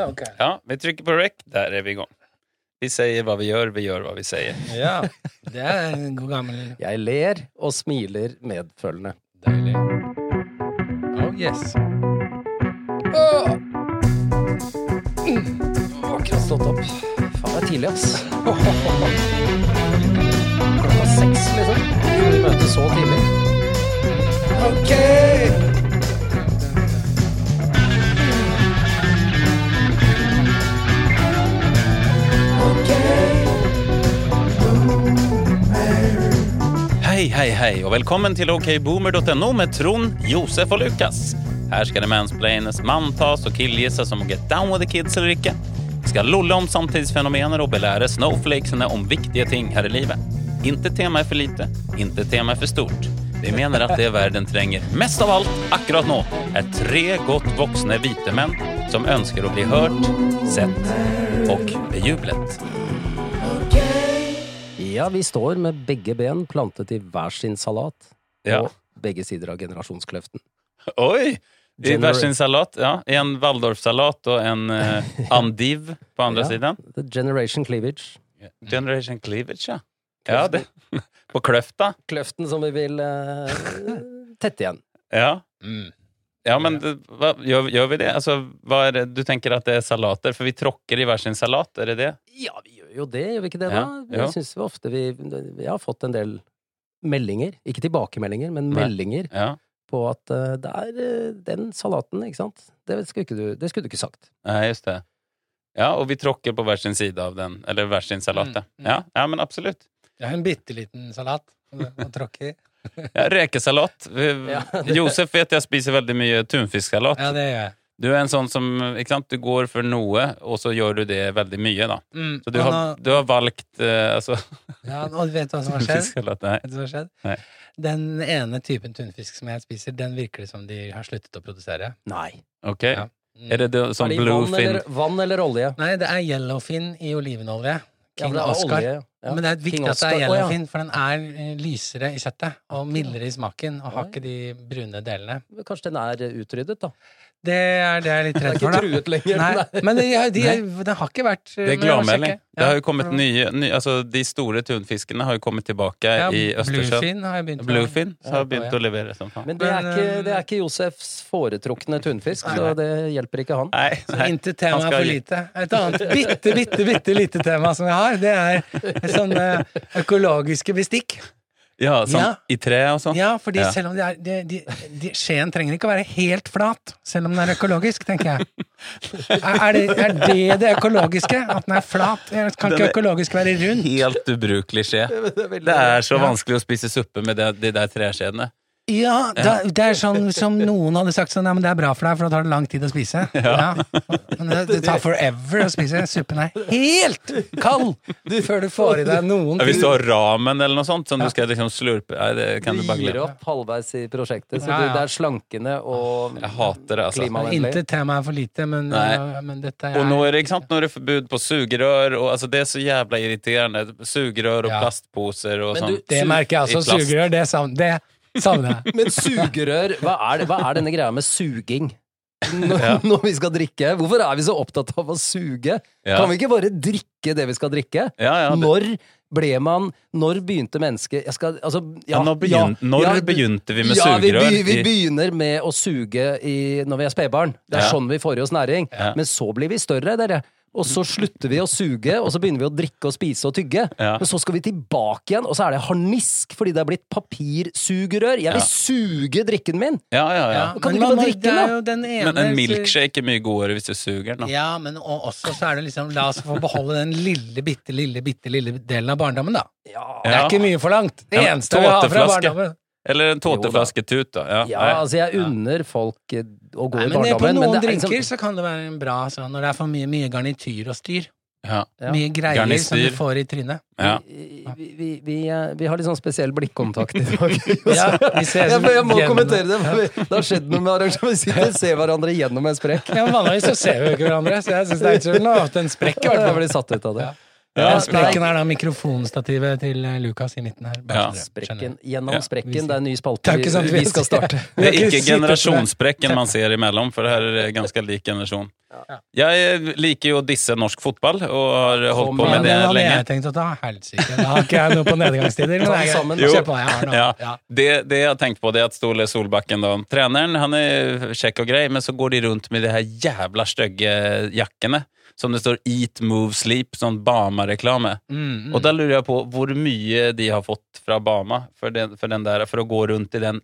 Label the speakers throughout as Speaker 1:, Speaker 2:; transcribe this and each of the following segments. Speaker 1: Ja, ok.
Speaker 2: Ja, vi trycker på rec. Där är vi igång. Vi säger vad vi gör, vi gör vad vi säger.
Speaker 1: Ja, det er en god gammel
Speaker 3: Jeg ler og smiler medfølende.
Speaker 1: Deilig. Oh yes.
Speaker 3: Akkurat stått opp. Faen, det er tidlig, ass. Klokka seks, liksom. Skal vi møte så tidlig?
Speaker 1: Ok!
Speaker 2: Hei, hei, hei, og velkommen til okboomer.no med Trond, Josef og Lukas. Her skal det mansplaines, manntas og killgisses om å get down with the kids eller ikke. Vi skal lolle om samtidsfenomener og belære snowflakesene om viktige ting her i livet. Inte tema er for lite, inte tema er for stort. Vi mener at det verden trenger mest av alt akkurat nå, er tre godt voksne hvite menn som ønsker å bli hørt, sett og bejublet.
Speaker 3: Ja, vi står med begge ben plantet i hver sin salat.
Speaker 2: Ja.
Speaker 3: Og begge sider av generasjonskløften.
Speaker 2: Oi! I
Speaker 3: Gener-
Speaker 2: hver sin salat. Ja. En Waldorf-salat og en eh, andiv på andre
Speaker 3: Ja.
Speaker 2: siden.
Speaker 3: The generation cleavage.
Speaker 2: Generation Cleavage, ja. ja det. På Kløfta.
Speaker 3: Kløften som vi vil eh, tette igjen.
Speaker 2: Ja,
Speaker 1: Mm.
Speaker 2: ja men det, hva, gjør, gjør vi det? Altså, hva er det? Du tenker at det er salater, for vi tråkker i hver sin salat, er det det?
Speaker 3: Ja, vi gjør jo det, gjør vi ikke det, da?
Speaker 2: Ja, jo.
Speaker 3: Jeg syns vi ofte vi Jeg har fått en del meldinger. Ikke tilbakemeldinger, men
Speaker 2: Nei.
Speaker 3: meldinger
Speaker 2: Ja.
Speaker 3: på at eh, det er eh, den salaten, ikke sant? Det skulle, ikke du, det skulle du ikke sagt.
Speaker 2: Nei, just det. Ja, og vi tråkker på hver sin side av den, eller hver sin salat, ja.
Speaker 1: Mm, mm.
Speaker 2: ja. Ja, men absolutt.
Speaker 1: Jeg har en bitte liten salat å tråkke i.
Speaker 2: Ja, rekesalat. Vi-
Speaker 3: Ja,
Speaker 2: Josef vet jeg spiser veldig mye tunfisksalat.
Speaker 1: Ja, det gjør jeg.
Speaker 2: Du er en sånn som ikke sant? Du går for noe, og så gjør du det veldig mye. da.
Speaker 1: Mm.
Speaker 2: Så du
Speaker 1: og
Speaker 2: har, du har valgt eh, altså,
Speaker 1: nå, ja, og vet du hva som har skjedd?
Speaker 2: fisksalat. Nei.
Speaker 1: Vet du hva som har skjedd?
Speaker 2: Nei.
Speaker 1: Den ene typen tunfisk som jeg spiser, den virker det som de har sluttet å produsere.
Speaker 3: Nei.
Speaker 2: Ok.
Speaker 1: Ja. Mm.
Speaker 2: Er det, det
Speaker 3: Er
Speaker 2: sånn
Speaker 3: det i vann
Speaker 2: bluefin
Speaker 3: eller, vann eller olje?
Speaker 1: Nei, det er yellowfin i olivenolje.
Speaker 3: Ja,
Speaker 1: King
Speaker 3: det er
Speaker 1: Oscar.
Speaker 3: olje, ja.
Speaker 1: Men det er viktig
Speaker 3: King
Speaker 1: at det er
Speaker 3: Oscar. Å, ja.
Speaker 1: yellowfin, for den er eh, lysere i kjøttet og mildere i smaken, og har
Speaker 3: Oi.
Speaker 1: ikke de brune delene.
Speaker 3: Kanskje den er utryddet, da.
Speaker 1: Det er det jeg er litt
Speaker 3: Den er
Speaker 1: redd
Speaker 3: ikke
Speaker 1: for, da.
Speaker 3: truet lenger.
Speaker 1: Nei, men de, de, den har ikke vært eh,
Speaker 2: Det er gladmelding. Det har jo kommet
Speaker 1: ny
Speaker 2: nye, nye altså De store tunfiskene har jo kommet tilbake eh, i Østersjøen.
Speaker 1: Bluefin har jeg begynt å-
Speaker 2: Bluefin så har
Speaker 1: Ja,
Speaker 2: begynt
Speaker 1: ja.
Speaker 2: å levere som faen.
Speaker 3: Men det er,
Speaker 1: Men,
Speaker 3: ikke,
Speaker 1: eh,
Speaker 3: det er ikke Josefs foretrukne tunfisk,
Speaker 1: Nei.
Speaker 3: så det hjelper ikke han.
Speaker 2: Nei,
Speaker 1: Så
Speaker 2: nei.
Speaker 1: intet
Speaker 2: Han
Speaker 1: tema er
Speaker 2: skal
Speaker 1: for
Speaker 2: gi-
Speaker 1: lite. Et annet bitte, bitte, bitte lite tema som jeg har, det er sånne økologiske bestikk.
Speaker 2: Ja, sånn
Speaker 1: Ja.
Speaker 2: i tre og sånn.
Speaker 1: Ja, fordi
Speaker 2: Ja.
Speaker 1: selv om det er de, de, de, Skjeen trenger ikke å være helt flat, selv om den er økologisk, tenker jeg. Er, er, det, er det det økologiske? At den er flat? Kan
Speaker 2: Den
Speaker 1: ikke
Speaker 2: er-
Speaker 1: økologisk være rund?
Speaker 2: Helt ubrukelig skje. Det er så vanskelig å spise suppe med det, de der treskjedene.
Speaker 1: Ja, da, det er sånn som noen hadde sagt sånn, ja, men det er bra for deg, for da tar det lang tid å spise. Ja. Men det, det tar forever å spise. Suppen er helt kald før du får i deg noen
Speaker 2: Ja, hvis
Speaker 1: ting.
Speaker 2: du har ramen eller noe sånt som du skal liksom slurpe Nei, det kan
Speaker 3: Du
Speaker 2: du bare
Speaker 3: gir
Speaker 2: glemme.
Speaker 3: opp halvveis i prosjektet, så
Speaker 1: Ja,
Speaker 3: du,
Speaker 1: ja.
Speaker 3: det er slankende og
Speaker 2: Jeg hater det, altså.
Speaker 3: klimavennlig.
Speaker 1: Intet tema er for lite, men,
Speaker 2: Nei.
Speaker 1: men dette er
Speaker 2: Og nå er det ikke sant, nå er det forbud på sugerør, og altså, det er så jævla irriterende. Sugerør og
Speaker 1: Ja.
Speaker 2: plastposer og
Speaker 3: Men
Speaker 2: sånn.
Speaker 3: du-
Speaker 1: Det merker jeg
Speaker 2: I
Speaker 1: også.
Speaker 2: plast.
Speaker 1: Sugerør, det savner det savner jeg.
Speaker 3: Men sugerør, hva er, det, hva er denne greia med suging? Når, når vi skal drikke. Hvorfor er vi så opptatt av å suge?
Speaker 2: Ja.
Speaker 3: Kan vi ikke bare drikke det vi skal drikke?
Speaker 2: Ja, ja, det-
Speaker 3: Når ble man Når begynte mennesket jeg skal, altså, ja,
Speaker 2: Ja, når begyn- når begynte vi med
Speaker 3: ja,
Speaker 2: sugerør
Speaker 3: Vi, vi
Speaker 2: i-
Speaker 3: begynner med å suge i, når vi er spedbarn. Det er
Speaker 2: Ja.
Speaker 3: sånn vi får i oss næring.
Speaker 2: Ja.
Speaker 3: Men så blir vi større, dere. Og så slutter vi å suge, og så begynner vi å drikke og spise og tygge.
Speaker 2: Ja.
Speaker 3: Men så skal vi tilbake igjen, og så er det harnisk fordi det er blitt papirsugerør. Jeg vil
Speaker 2: Ja.
Speaker 3: suge drikken min!
Speaker 2: Ja, ja, ja.
Speaker 3: Kan du
Speaker 1: Men
Speaker 3: ikke
Speaker 1: man må-
Speaker 3: bare drikke
Speaker 1: det
Speaker 3: den,
Speaker 1: er
Speaker 3: da?
Speaker 1: jo den ene
Speaker 2: Men en milkshake er mye godere hvis du suger den. da.
Speaker 1: Ja, men og også så er det liksom La oss få beholde den lille, bitte, lille, bitte lille delen av barndommen, da.
Speaker 3: Ja.
Speaker 1: Det er
Speaker 2: Ja.
Speaker 1: ikke mye forlangt. Det
Speaker 2: Ja, men
Speaker 1: eneste vi har fra
Speaker 2: tåteflaske.
Speaker 1: barndommen.
Speaker 2: Eller en tåteflaske tut, da. Ja,
Speaker 3: Ja,
Speaker 2: nei.
Speaker 3: altså jeg unner folk eh, å gå
Speaker 1: Nei,
Speaker 3: i
Speaker 1: men det-
Speaker 3: barndommen,
Speaker 1: på noen
Speaker 3: men det er
Speaker 1: drinker
Speaker 3: liksom
Speaker 1: så kan det være en bra sånn når det er for mye, mye garnityr og styr.
Speaker 2: ja.
Speaker 3: Ja.
Speaker 1: Mye greier som du
Speaker 2: Garnistyr.
Speaker 1: får i trynet.
Speaker 2: Ja.
Speaker 3: vi, vi, vi, eh, vi har litt sånn spesiell blikkontakt i dag.
Speaker 1: Ja, vi
Speaker 3: jeg,
Speaker 1: ser som
Speaker 3: jeg må
Speaker 1: gjennom-
Speaker 3: kommentere det, for vi- det har skjedd noe med arrangementet. Vi sitter og ser hverandre gjennom en sprekk.
Speaker 1: Ja, men Vanligvis så ser vi jo ikke hverandre, så jeg syns det er ikke så noe at en sprekk i hvert
Speaker 3: Jeg
Speaker 1: fall.
Speaker 3: blir satt ut av det.
Speaker 1: Den
Speaker 3: Ja,
Speaker 1: sprekken
Speaker 3: nei.
Speaker 1: er da mikrofonstativet til eh, Lukas i midten her. Bare
Speaker 2: Ja.
Speaker 1: så dere skjønner.
Speaker 3: Sprekken. Gjennom
Speaker 2: Ja.
Speaker 3: sprekken. Det er en ny
Speaker 1: Det
Speaker 3: spalte
Speaker 1: er ikke sånn sant
Speaker 3: vi, vi skal starte.
Speaker 2: Det er
Speaker 1: Vi har
Speaker 2: ikke
Speaker 1: sittet på det.
Speaker 2: generasjonssprekken man ser imellom, for det her er ganske lik generasjon. Jeg liker jo å disse norsk fotball, og har holdt på
Speaker 1: Ja,
Speaker 2: med
Speaker 1: det
Speaker 2: det
Speaker 1: hadde
Speaker 2: lenge.
Speaker 1: jeg tenkt å ta. Helsike, da har ikke jeg noe på nedgangstider. Men
Speaker 3: Ta
Speaker 1: det
Speaker 3: det
Speaker 1: er
Speaker 3: sammen.
Speaker 1: greit.
Speaker 2: Jo.
Speaker 1: Se på hva jeg har nå.
Speaker 2: Ja.
Speaker 1: Ja.
Speaker 2: Det, det jeg har tenkt på, det er at Ståle Solbakken, da, treneren, han er kjekk og grei, men så går de rundt med de her jævla stygge jakkene. Som det står 'Eat, Move, Sleep', sånn Bama-reklame.
Speaker 1: Mm,
Speaker 2: Og da lurer jeg på hvor mye de har fått fra Bama for, den, for, den der, for å gå rundt i den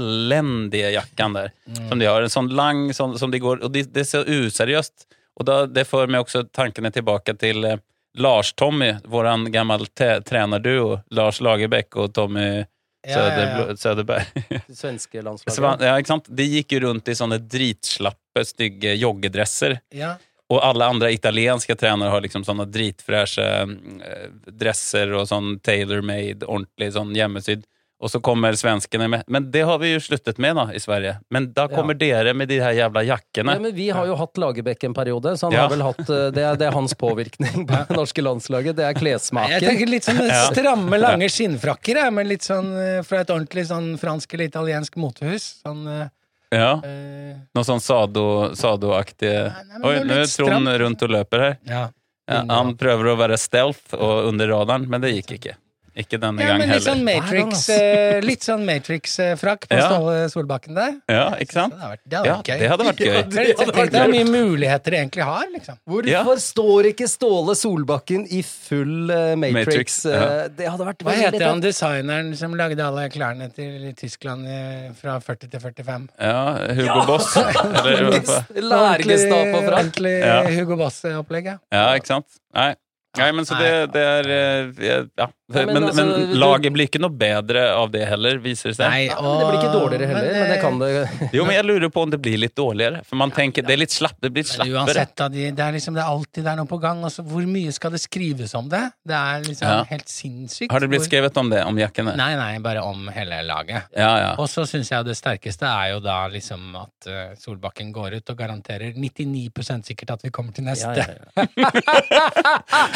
Speaker 2: elendige jakken der. Som de har. En sånn lang sånn som de går Og de, det er så useriøst. Og da, det får meg også tankene tilbake til eh, Lars-Tommy, vår gammel te- trenerduo. Lars Lagerbäck og Tommy
Speaker 1: Ja, ja, ja.
Speaker 2: Söderblå- Söderberg.
Speaker 3: Det svenske
Speaker 2: Svan-
Speaker 3: landslaget.
Speaker 2: Ja, ikke sant? De gikk jo rundt i sånne dritslappe, stygge joggedresser.
Speaker 1: Ja.
Speaker 2: Og alle andre italienske trenere har liksom sånne dritfräscha eh, dresser og sånn tailor-made, ordentlig sånn hjemmesydd. Og så kommer svenskene med Men det har vi jo sluttet med da, i Sverige. Men da kommer dere med de her jævla jakkene.
Speaker 3: Ja, men vi har jo hatt Lagerbäck en periode, så han
Speaker 2: Ja.
Speaker 3: har vel hatt, eh, det, er, det er hans påvirkning på det norske landslaget. Det er
Speaker 1: Jeg
Speaker 3: klessmaken.
Speaker 1: tenker litt sånn stramme, lange skinnfrakker, jeg, men litt sånn eh, fra et ordentlig sånn fransk eller italiensk motehus. Sånn eh,
Speaker 2: Ja,
Speaker 1: eh,
Speaker 2: Noe sånn sado, sadoaktige
Speaker 1: Nei, nei, men
Speaker 2: Oi,
Speaker 1: det er
Speaker 2: nå er
Speaker 1: litt
Speaker 2: Trond
Speaker 1: stramt. Mm.
Speaker 2: rundt og løper her.
Speaker 1: ja.
Speaker 2: Ja, han prøver å være stealth og under radaren, men det gikk ikke. Ikke denne
Speaker 1: ja,
Speaker 2: gang
Speaker 1: men litt
Speaker 2: heller.
Speaker 1: sånn Matrix,
Speaker 3: Nei,
Speaker 1: eh, litt sånn Matrix-frakk på
Speaker 2: Ja.
Speaker 1: Ståle Solbakken der.
Speaker 2: Ja, ikke
Speaker 1: Det
Speaker 2: sant?
Speaker 1: hadde vært, det hadde
Speaker 2: Ja,
Speaker 1: vært gøy.
Speaker 2: det hadde vært gøy.
Speaker 1: Tenk- tenk- Tenk deg hvor mye muligheter de egentlig har, liksom.
Speaker 3: Hvorfor
Speaker 2: Ja.
Speaker 3: står ikke Ståle Solbakken i full eh, Matrix?
Speaker 2: Matrix, ja.
Speaker 3: eh, Det hadde vært
Speaker 1: Hva
Speaker 3: veldig
Speaker 1: heter
Speaker 3: bra.
Speaker 1: han designeren som lagde alle klærne til Tyskland eh, fra 40 til 45?
Speaker 2: Ja, Hugo Boss. Eller, hva-
Speaker 3: Lærgestapa fra
Speaker 1: Ordentlig
Speaker 2: Ja.
Speaker 1: Hugo Boss-opplegg, ja.
Speaker 2: ja, ikke sant? Nei. Nei, men så det, det er eh, Ja.
Speaker 3: Nei, men
Speaker 2: Men,
Speaker 3: altså,
Speaker 2: men
Speaker 3: du-
Speaker 2: laget blir ikke noe bedre av det heller, viser det seg.
Speaker 3: Ja, men det blir ikke dårligere heller, men det kan det.
Speaker 2: Jo, men jeg lurer på om det blir litt dårligere. For man tenker det er litt slapp, det blir litt
Speaker 1: Men
Speaker 2: slappere.
Speaker 1: uansett, da, de, det er liksom det er alltid det er noe på gang. Og så hvor mye skal det skrives om det? Det er liksom
Speaker 2: Ja.
Speaker 1: helt sinnssykt.
Speaker 2: Har det blitt
Speaker 1: hvor-
Speaker 2: skrevet om det, om jakkene?
Speaker 1: Nei, nei, bare om hele laget.
Speaker 2: Ja, ja.
Speaker 1: Og så syns jeg det sterkeste er jo da liksom at eh, Solbakken går ut og garanterer 99 sikkert at vi kommer til neste
Speaker 3: Ja, ja,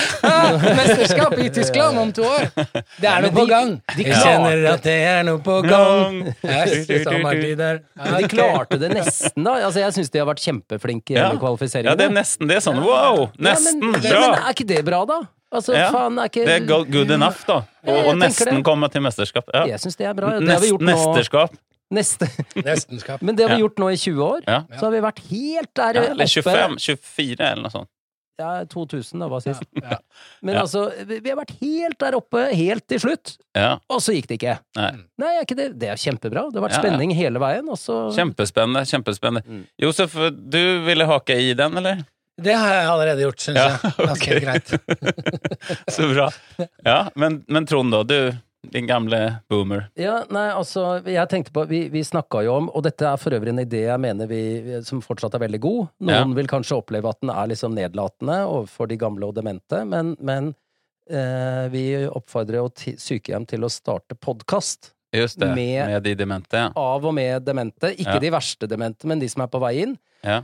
Speaker 1: mesterskap i Tyskland om to år! Det er noe
Speaker 3: men
Speaker 1: på
Speaker 3: de-
Speaker 1: gang!
Speaker 3: de
Speaker 1: jeg kjenner at det er noe på gang!
Speaker 2: Gang.
Speaker 1: Jeg synes han har tid der.
Speaker 3: De
Speaker 1: Ok.
Speaker 3: klarte det nesten, da. Altså, jeg syns de har vært kjempeflinke i
Speaker 2: Ja.
Speaker 3: hele
Speaker 2: ja, det er
Speaker 3: kvalifiseringen.
Speaker 2: nesten det. er Sånn wow!
Speaker 3: Ja,
Speaker 2: Nesten!
Speaker 3: men,
Speaker 2: Bra!
Speaker 3: Men er ikke det bra, da? Altså,
Speaker 2: Ja,
Speaker 3: faen, er ikke
Speaker 2: Det er go- good enough, da.
Speaker 3: Ja, jeg
Speaker 2: Og, og
Speaker 3: tenker
Speaker 2: nesten
Speaker 3: det.
Speaker 2: komme til mesterskap. Ja.
Speaker 3: Jeg syns det er bra. Det har
Speaker 2: Nest,
Speaker 3: vi gjort nå.
Speaker 2: mesterskap.
Speaker 3: Neste.
Speaker 1: Nestenskap.
Speaker 3: Men det har
Speaker 2: Ja.
Speaker 3: vi gjort nå i 20 år.
Speaker 2: Ja.
Speaker 3: Så har vi vært helt der
Speaker 2: Ja,
Speaker 3: oppe.
Speaker 2: eller 25, 24, eller noe sånt.
Speaker 3: Ja, 2000, da, var sist.
Speaker 1: Ja.
Speaker 3: Men
Speaker 2: Ja.
Speaker 3: altså, vi vi har vært helt der oppe, helt til slutt.
Speaker 2: Ja.
Speaker 3: Og så gikk det ikke.
Speaker 2: Nei.
Speaker 3: Nei, er ikke det, det er kjempebra. Det har vært
Speaker 2: Ja, ja.
Speaker 3: spenning hele veien. Og så
Speaker 2: Kjempespennende. kjempespennende. Josef, du ville hake i den, eller?
Speaker 1: Det har jeg allerede gjort, syns
Speaker 2: Ja,
Speaker 1: jeg. Ganske
Speaker 2: ok.
Speaker 1: greit.
Speaker 2: Så bra. Ja, men, men Trond, da. Du, din gamle boomer.
Speaker 3: Ja, nei, altså, jeg tenkte på Vi, vi snakka jo om, og dette er for øvrig en idé jeg mener vi, vi- som fortsatt er veldig god. Noen
Speaker 2: Ja.
Speaker 3: vil kanskje oppleve at den er liksom nedlatende overfor de gamle og demente, men, men eh, vi oppfordrer jo ti- sykehjem til å starte podkast
Speaker 2: Just det.
Speaker 3: Med-
Speaker 2: Med, de demente. ja.
Speaker 3: av og med demente. Ikke
Speaker 2: Ja.
Speaker 3: de verste demente, men de som er på vei inn.
Speaker 2: Ja.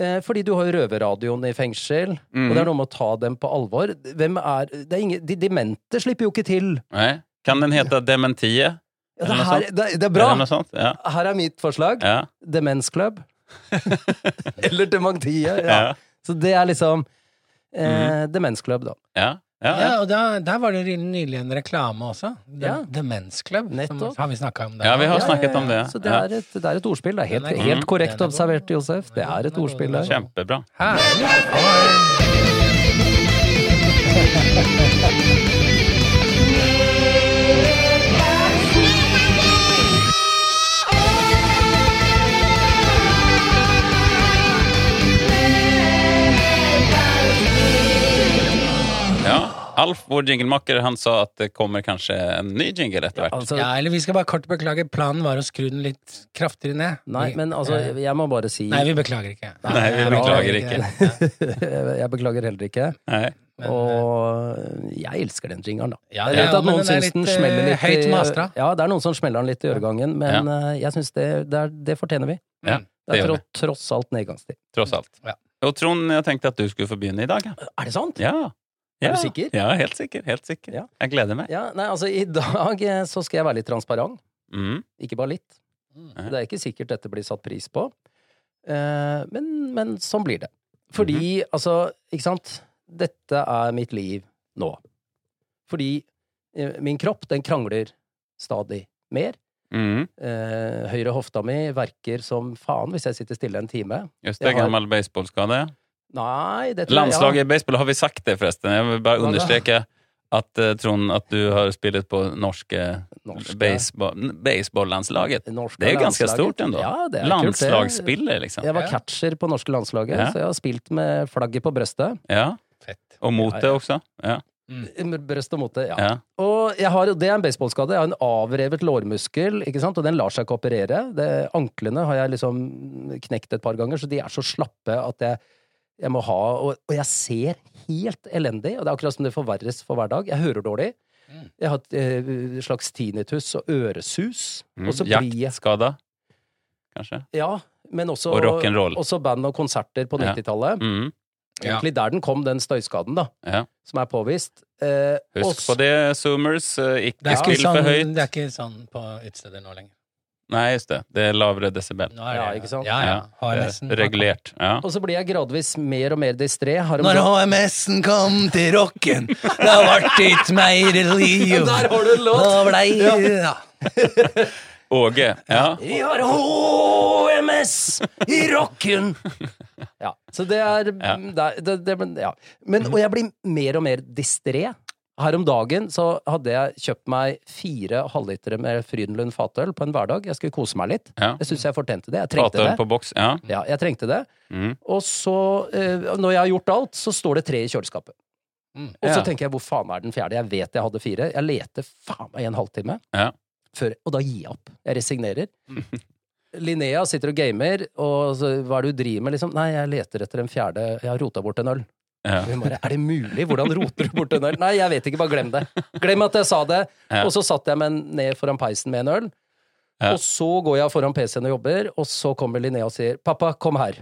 Speaker 3: Eh, fordi du har jo røverradioen i fengsel,
Speaker 2: Mm.
Speaker 3: og det er noe med å ta dem på alvor. Hvem er, det er ingen, de demente slipper jo ikke til.
Speaker 2: Nei. Kan den hete Dementie?
Speaker 3: Ja,
Speaker 2: Er
Speaker 3: det,
Speaker 2: det noe
Speaker 3: her,
Speaker 2: sånt?
Speaker 3: det, det er
Speaker 2: Eller
Speaker 3: bra!
Speaker 2: noe sånt? Ja.
Speaker 3: Her er mitt forslag.
Speaker 2: Ja.
Speaker 3: Demensklubb. Eller dementiet. Ja.
Speaker 2: Ja. Mhm.
Speaker 3: Så det er liksom eh, demensklubb, da.
Speaker 2: Ja. Ja.
Speaker 1: Ja,
Speaker 2: ja.
Speaker 1: og da, Der var det jo nylig en reklame også. Dem-
Speaker 3: Ja.
Speaker 1: Demensklubb.
Speaker 3: Nettopp.
Speaker 1: Som, har vi snakka om det?
Speaker 2: Ja, vi har
Speaker 1: Ja,
Speaker 2: snakket
Speaker 1: ja, ja.
Speaker 2: om det.
Speaker 3: Så det er et, det er et ordspill. Det er helt,
Speaker 1: Den er god.
Speaker 3: helt korrekt
Speaker 1: Den er god.
Speaker 3: observert, Josef. Det er et
Speaker 1: Den er god,
Speaker 3: ordspill
Speaker 1: den er
Speaker 3: der.
Speaker 2: Kjempebra.
Speaker 1: Herlig.
Speaker 2: Ja. Alf, vår jinglemaker, han sa at det kommer kanskje en ny jingle etter hvert.
Speaker 3: Altså,
Speaker 1: Ja, eller vi skal bare kort beklage. Planen var å skru den litt kraftigere ned.
Speaker 3: nei,
Speaker 1: Vi-
Speaker 3: men altså,
Speaker 1: eh,
Speaker 3: jeg må bare si
Speaker 1: Nei, vi beklager ikke.
Speaker 2: Nei, vi
Speaker 1: Jeg
Speaker 2: beklager
Speaker 1: Ja.
Speaker 3: Jeg beklager heller ikke.
Speaker 2: Nei.
Speaker 1: Men, eh,
Speaker 3: Og jeg elsker den jingeren, da.
Speaker 1: Ja,
Speaker 3: jeg vet
Speaker 1: ja,
Speaker 3: at
Speaker 1: men
Speaker 3: noen
Speaker 1: den er
Speaker 3: syns den
Speaker 1: litt, eh,
Speaker 3: smeller litt i-
Speaker 1: høyt mastra.
Speaker 3: Ja, det er noen som smeller den litt i øregangen, men eh, jeg syns det, det, er- det fortjener vi.
Speaker 2: Ja,
Speaker 3: Det
Speaker 2: det
Speaker 3: er
Speaker 2: gjør
Speaker 3: tro- tross alt nedgangstid.
Speaker 2: Tross alt.
Speaker 1: Ja.
Speaker 2: Og Trond, jeg tenkte at du skulle få begynne i dag. ja.
Speaker 3: Er det sant?
Speaker 2: Ja. Ja.
Speaker 3: Er du sikker?
Speaker 2: Ja, helt sikker. Helt sikker.
Speaker 3: Ja.
Speaker 2: Jeg gleder meg.
Speaker 3: Ja, nei, altså I dag eh, så skal jeg være litt transparent.
Speaker 2: Mm.
Speaker 3: Ikke bare litt. Det er ikke sikkert dette blir satt pris på. Eh, men, men sånn blir det. Fordi,
Speaker 2: Mhm.
Speaker 3: altså, ikke sant Dette er mitt liv nå. Fordi eh, min kropp, den krangler stadig mer.
Speaker 2: Mm.
Speaker 3: Eh, høyre hofta mi verker som faen hvis jeg sitter stille en time.
Speaker 2: Just
Speaker 3: Jeg
Speaker 2: det,
Speaker 3: har-
Speaker 2: gammel baseballskade.
Speaker 3: Nei, det tror jeg
Speaker 2: Landslaget i baseball, har vi sagt det forresten? Jeg vil bare
Speaker 3: da?
Speaker 2: understreke at eh, Trond, at du har spilt på norske
Speaker 3: Norske-
Speaker 2: baseball- baseballandslaget.
Speaker 3: norske
Speaker 2: Det er jo ganske
Speaker 3: landslaget.
Speaker 2: stort enda.
Speaker 3: Ja, det er kult, det.
Speaker 2: Landslagsspiller, liksom.
Speaker 3: Jeg var
Speaker 1: Ja.
Speaker 3: catcher på norske landslaget,
Speaker 2: Ja.
Speaker 3: så jeg har spilt med flagget på brøstet.
Speaker 2: Ja.
Speaker 1: Fett.
Speaker 2: Og
Speaker 3: Ja,
Speaker 2: motet
Speaker 3: ja.
Speaker 2: også. Ja.
Speaker 3: Brøst og mote, ja.
Speaker 2: ja.
Speaker 3: Og jeg har, jo- det er en baseballskade. Jeg har en avrevet lårmuskel, ikke sant? og den lar seg ikke operere. Det, anklene har jeg liksom knekt et par ganger, så de er så slappe at jeg, jeg må ha og, og jeg ser helt elendig, og det er akkurat som det forverres for hver dag. Jeg hører dårlig.
Speaker 1: Mm.
Speaker 3: Jeg har hatt eh, slags tinnitus og øresus.
Speaker 2: Mm.
Speaker 3: Og så blir jeg
Speaker 2: Jaktskada, kanskje.
Speaker 3: Ja, men også
Speaker 2: Og rock'n'roll.
Speaker 3: Også band og konserter på
Speaker 2: Ja.
Speaker 3: 90-tallet.
Speaker 2: Mm.
Speaker 1: Ja.
Speaker 3: Egentlig der den kom, den støyskaden, da,
Speaker 2: Ja.
Speaker 3: som er påvist. Eh,
Speaker 2: Husk
Speaker 3: også-
Speaker 2: på det, Zoomers. eh,
Speaker 1: Det
Speaker 2: Ikke
Speaker 1: er, ikke
Speaker 2: spill for
Speaker 1: sånn,
Speaker 2: høyt.
Speaker 1: det er ikke sånn på utesteder nå lenger.
Speaker 2: Nei, just det. Det er lavere desibel.
Speaker 1: Nå er det,
Speaker 3: Ja, ikke sant?
Speaker 1: Ja, ja. HMS-en.
Speaker 2: Det er Regulert. Ja.
Speaker 3: Og så blir jeg gradvis mer og mer distré. Har en-
Speaker 1: Når HMS-en kom til rocken, da ble det ikke mer liv.
Speaker 3: Ja, der har du en låt.
Speaker 1: Da blei ja.
Speaker 2: Åge. Ja.
Speaker 3: Vi har HMS i rocken! Ja, så det er det, det, det, men- ja. Men, Og jeg blir mer og mer distré. Her om dagen så hadde jeg kjøpt meg fire halvlitere med Frydenlund fatøl på en hverdag. Jeg skulle kose meg litt.
Speaker 2: Ja.
Speaker 3: Jeg syns jeg fortjente det. Jeg trengte
Speaker 2: Fatøl
Speaker 3: det.
Speaker 2: på boks. Ja.
Speaker 3: Ja, jeg trengte det.
Speaker 2: Mm.
Speaker 3: Og så, eh, når jeg har gjort alt, så står det tre i kjøleskapet.
Speaker 1: Mm.
Speaker 3: Og så
Speaker 2: Ja.
Speaker 3: tenker jeg, hvor faen er den fjerde? Jeg vet jeg hadde fire. Jeg leter faen meg i en halvtime.
Speaker 2: Ja. Mm.
Speaker 3: Før, og da gir jeg opp. Jeg resignerer. Linnea sitter og gamer, og så, hva er det du driver med? Liksom, Nei, jeg leter etter en fjerde. Jeg har rota bort en øl.
Speaker 2: Ja.
Speaker 3: Hun bare, er det mulig? Hvordan roter du bort en øl? Nei, jeg vet ikke, bare glem det. Glem at jeg sa det.
Speaker 2: Ja.
Speaker 3: Og så satt jeg meg ned foran peisen med en øl.
Speaker 2: Ja.
Speaker 3: Og så går jeg foran PC-en og jobber, og så kommer Linnea og sier 'pappa, kom her'.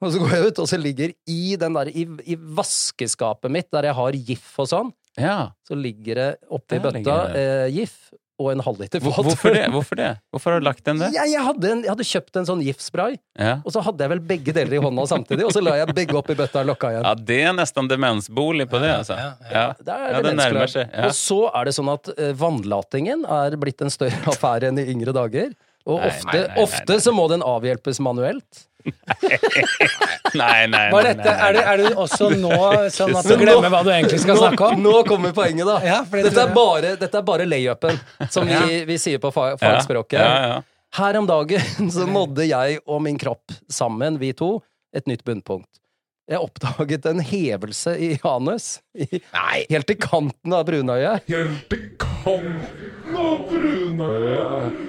Speaker 3: og så går jeg ut, og så ligger i, den der, i, i vaskeskapet mitt, der jeg har GIF og sånn,
Speaker 2: ja.
Speaker 3: så ligger det oppi
Speaker 2: Der
Speaker 3: bøtta
Speaker 2: ligger det.
Speaker 3: eh, GIF og en halvliter
Speaker 2: Hvor-
Speaker 3: vodka.
Speaker 2: Hvorfor det? Hvorfor det? Hvorfor har du lagt den der?
Speaker 3: Jeg, jeg, hadde en, jeg hadde kjøpt en sånn GIF-spray,
Speaker 2: Ja.
Speaker 3: og så hadde jeg vel begge deler i hånda samtidig, og så la jeg begge oppi bøtta og lokka igjen.
Speaker 2: ja, det er nesten demensbolig på det, altså.
Speaker 1: Ja, ja,
Speaker 2: Ja,
Speaker 3: Det er
Speaker 2: ja det
Speaker 3: demensklart.
Speaker 2: nærmer seg. Ja.
Speaker 3: Og så er det sånn at eh, vannlatingen er blitt en større affære enn i yngre dager. Og
Speaker 2: Nei,
Speaker 3: ofte,
Speaker 2: nei, nei, nei,
Speaker 3: ofte så må den avhjelpes manuelt.
Speaker 2: Nei, nei, nei.
Speaker 1: Hva er
Speaker 2: nei,
Speaker 1: dette?
Speaker 2: nei,
Speaker 1: Er det,
Speaker 2: nei.
Speaker 1: er det også nå sånn at du
Speaker 3: Men nå-
Speaker 1: glemmer hva du egentlig skal snakke om?
Speaker 3: Nå kommer poenget, da.
Speaker 1: Ja, for det
Speaker 3: dette,
Speaker 1: tror jeg.
Speaker 3: er bare, dette er bare layupen, som
Speaker 1: Ja.
Speaker 3: vi, vi sier på fa
Speaker 2: Ja,
Speaker 3: fagspråket.
Speaker 2: Ja, ja.
Speaker 3: Her om dagen så nådde jeg og min kropp sammen, vi to, et nytt bunnpunkt. Jeg oppdaget en hevelse i anus. I, Helt til kanten av brunøyet.
Speaker 4: Helt i kanten av brunøyet.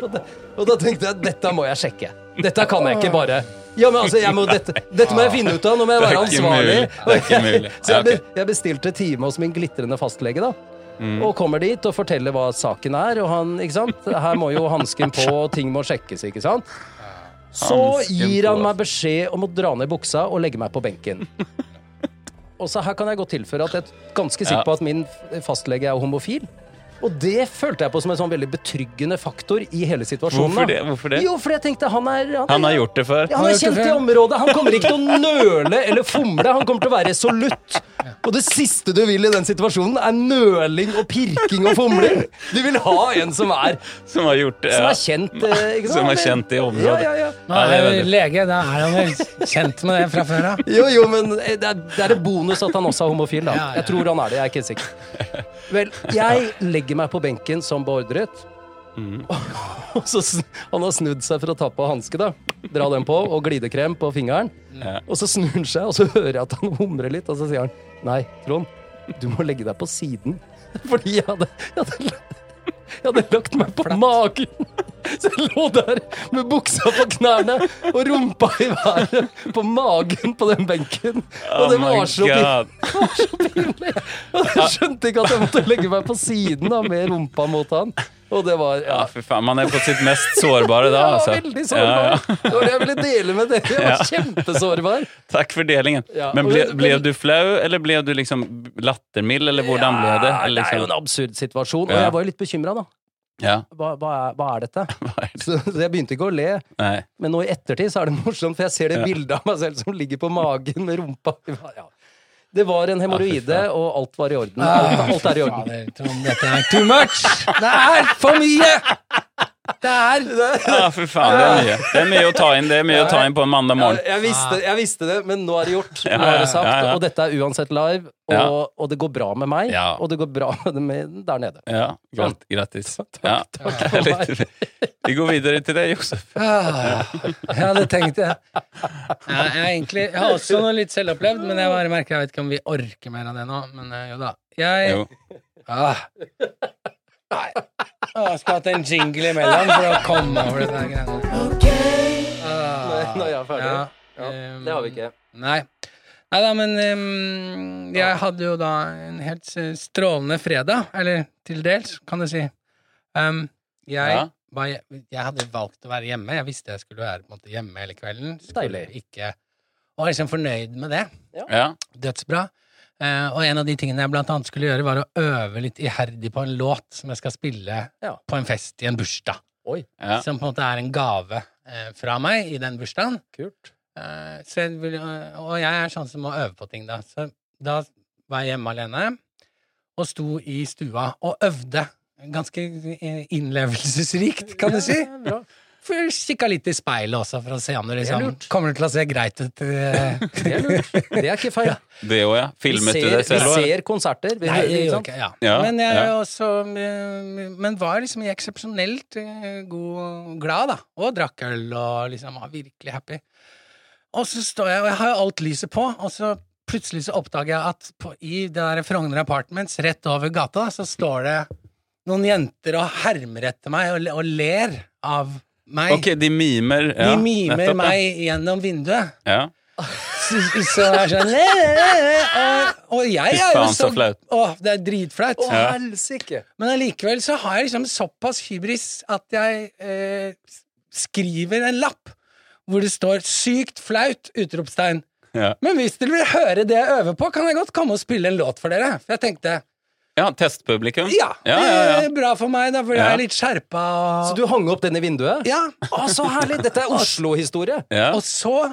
Speaker 3: Og da, og da tenkte jeg dette må jeg sjekke. Dette kan jeg ikke bare. Ja, men altså, jeg må, dette, dette må jeg finne ut av. Nå må jeg
Speaker 2: Det er
Speaker 3: være
Speaker 2: ikke
Speaker 3: ansvarlig.
Speaker 2: mulig. Det er ikke mulig.
Speaker 3: Så
Speaker 2: Ja,
Speaker 3: jeg, be-
Speaker 2: ok. Mm.
Speaker 3: jeg bestilte time hos min glitrende fastlege, da. Og kommer dit og forteller hva saken er. Og han, ikke sant? Her må jo hansken på, og ting må sjekkes, ikke sant? Så
Speaker 2: Hansken
Speaker 3: gir han
Speaker 2: på.
Speaker 3: meg beskjed om å dra ned buksa og legge meg på benken. Og så her kan jeg godt tilføre at jeg er ganske sikker
Speaker 2: Ja.
Speaker 3: på at min fastlege er homofil. Og det følte jeg på som en sånn veldig betryggende faktor i hele situasjonen.
Speaker 2: Hvorfor
Speaker 3: da.
Speaker 2: det? Hvorfor det?
Speaker 3: Jo, fordi jeg tenkte han er
Speaker 2: Han har gjort det før.
Speaker 3: Ja, han er kjent i området. Han kommer ikke til å nøle eller fomle. Han kommer til å være resolutt. Og det siste du vil i den situasjonen, er nøling og pirking og fomling. Du vil ha en som er,
Speaker 2: Som har gjort det.
Speaker 3: som
Speaker 2: ja.
Speaker 3: er kjent. eh, Ikke sant?
Speaker 2: Som er kjent i området.
Speaker 3: Ja, ja, ja.
Speaker 1: Nå er jeg jo lege, da er han vel kjent med det fra før av.
Speaker 3: Jo, jo, men eh, det er, det er et bonus at han også er homofil, da.
Speaker 1: Ja, ja.
Speaker 3: Jeg tror han er det, jeg er ikke helt sikker. Vel, jeg legger meg på benken som beordret.
Speaker 1: Mhm.
Speaker 3: Og så sn- Han har snudd seg for å ta på hanske, da. Dra den på, og glidekrem på fingeren.
Speaker 2: Ja.
Speaker 3: Og så snur han seg, og så hører jeg at han humrer litt, og så sier han Nei, Trond, du må legge deg på siden. Fordi jeg hadde, jeg hadde, jeg hadde lagt meg på magen. Så jeg lå der med buksa på knærne og rumpa i været på magen på den benken. Og det
Speaker 2: Oh my
Speaker 3: var så pin-
Speaker 2: God.
Speaker 3: pinlig. Og jeg skjønte ikke at jeg måtte legge meg på siden da, med rumpa mot han. Og det var ja,
Speaker 2: Ja, fy faen, man er på sitt mest sårbare da.
Speaker 3: jeg var
Speaker 2: Altså.
Speaker 3: veldig sårbar.
Speaker 2: Ja, ja.
Speaker 3: Det var det jeg ville dele med dere. Jeg var kjempesårbar.
Speaker 2: Takk for delingen.
Speaker 3: Ja,
Speaker 2: Men
Speaker 3: og-
Speaker 2: ble, ble du flau, eller ble du liksom lattermild, eller hvordan ble det?
Speaker 3: Ja,
Speaker 2: Eller
Speaker 3: det er jo
Speaker 2: liksom,
Speaker 3: en absurd situasjon. Og
Speaker 2: Ja.
Speaker 3: jeg var jo litt bekymra, da.
Speaker 2: ja,
Speaker 3: Hva, hva, er, hva er dette?
Speaker 2: hva er det?
Speaker 3: Så, så jeg begynte ikke å le.
Speaker 2: Nei.
Speaker 3: Men nå i ettertid så er det morsomt, for jeg ser det bildet av meg selv som ligger på magen med rumpa ja. Det var en hemoroide, og alt var i orden. Alt, alt er i orden.
Speaker 1: Ah, Fader, Trond, dette er too much! Det er for mye! Det er
Speaker 2: Ja, Ah, fy faen, det er mye. Det er mye å ta inn, det er mye å ta inn på en mandag
Speaker 3: Ja,
Speaker 2: morgen.
Speaker 3: jeg, visste, jeg visste det, men nå er det gjort. Nå
Speaker 2: ja,
Speaker 3: er det sagt,
Speaker 2: ja, ja.
Speaker 3: Og dette er uansett live, og,
Speaker 2: Ja.
Speaker 3: og det går bra med meg,
Speaker 2: Ja.
Speaker 3: og det går bra med dem der nede.
Speaker 2: Ja, grat- grattis. Ja.
Speaker 3: takk for
Speaker 2: Herlig. Vi går videre til deg, Josef.
Speaker 1: Ah, Jeg hadde tenkt det. Ja, jeg, er egentlig, jeg har også noe litt selvopplevd, men jeg bare merker jeg vet ikke om vi orker mer av det nå. Men eh, jo da. Jeg
Speaker 2: Jo.
Speaker 1: Ah. Nei. Jeg skulle hatt en jingle imellom for å komme over det der greiene. Ah,
Speaker 3: Nå er jeg ferdig.
Speaker 1: ja,
Speaker 3: Ja,
Speaker 1: um,
Speaker 3: Det har vi ikke.
Speaker 1: Nei. Nei da, men ehm, jeg hadde jo da en helt eh, strålende fredag. Eller til dels, kan du si. Ehm, jeg,
Speaker 2: Ja.
Speaker 1: var, hje- jeg hadde valgt å være hjemme. Jeg visste jeg skulle være på en måte, hjemme hele kvelden. Skulle
Speaker 3: Deilig.
Speaker 1: ikke, og var liksom fornøyd med det.
Speaker 2: Ja.
Speaker 1: Dødsbra. Eh, og en av de tingene jeg blant annet skulle gjøre, var å øve litt iherdig på en låt som jeg skal spille
Speaker 3: Ja.
Speaker 1: på en fest i en bursdag.
Speaker 3: Oi,
Speaker 2: Ja.
Speaker 1: Som på en måte er en gave eh, fra meg i den bursdagen.
Speaker 3: kult.
Speaker 1: Eh, så jeg vil, eh, og jeg er sånn som må øve på ting, da. Så da var jeg hjemme alene og sto i stua og øvde. Ganske eh, innlevelsesrikt, kan du si.
Speaker 3: Ja, bra.
Speaker 1: For Kikka litt i speilet også, for å se om det
Speaker 3: Det er
Speaker 1: liksom
Speaker 3: lurt.
Speaker 1: Kommer det til å se greit ut? eh?
Speaker 3: Det er lurt. Det er ikke feil.
Speaker 2: Det òg, ja.
Speaker 3: Vi
Speaker 2: Filmet du
Speaker 3: ser,
Speaker 2: deg selv
Speaker 3: vi
Speaker 2: òg?
Speaker 3: ser konserter. Vi
Speaker 1: Nei,
Speaker 3: hører,
Speaker 1: det
Speaker 3: ikke
Speaker 1: gjorde
Speaker 3: sant?
Speaker 1: ikke ja.
Speaker 2: Ja,
Speaker 1: Men jeg er
Speaker 2: ja.
Speaker 1: også eh, Men var liksom i eksepsjonelt eh, god glad, da. Og drakk øl og liksom var virkelig happy. Og så står jeg, og jeg har jo alt lyset på, og så plutselig så oppdager jeg at på, i det der Frogner Apartments rett over gata, da, så står det noen jenter og hermer etter meg og, le- og ler av meg.
Speaker 2: Ok, de mimer
Speaker 1: De
Speaker 2: ja,
Speaker 1: mimer
Speaker 2: nettopp, ja.
Speaker 1: meg gjennom vinduet.
Speaker 2: Ja.
Speaker 1: Så, så jeg er sånn «Læ, læ, læ», og, og jeg er jo
Speaker 2: faen, så
Speaker 1: så
Speaker 2: flaut.
Speaker 1: Åh, det er dritflaut.
Speaker 3: Å,
Speaker 2: Ja.
Speaker 3: helsike!
Speaker 1: Men allikevel så har jeg liksom såpass hybris at jeg eh, s- skriver en lapp hvor det står 'sykt flaut!' utropstegn.
Speaker 2: Ja.
Speaker 1: Men hvis dere vil høre det jeg øver på, kan jeg godt komme og spille en låt for dere. For jeg tenkte
Speaker 2: ja, testpublikum.
Speaker 1: ja, Eh,
Speaker 2: ja, ja, ja.
Speaker 1: det er bra for meg, da, for
Speaker 2: Ja.
Speaker 1: jeg er litt skjerpa
Speaker 3: Så
Speaker 1: og
Speaker 3: du hang opp den i vinduet?
Speaker 1: Ja.
Speaker 3: Å, så herlig! Dette er Oslo-historie.
Speaker 2: ja.
Speaker 1: Og så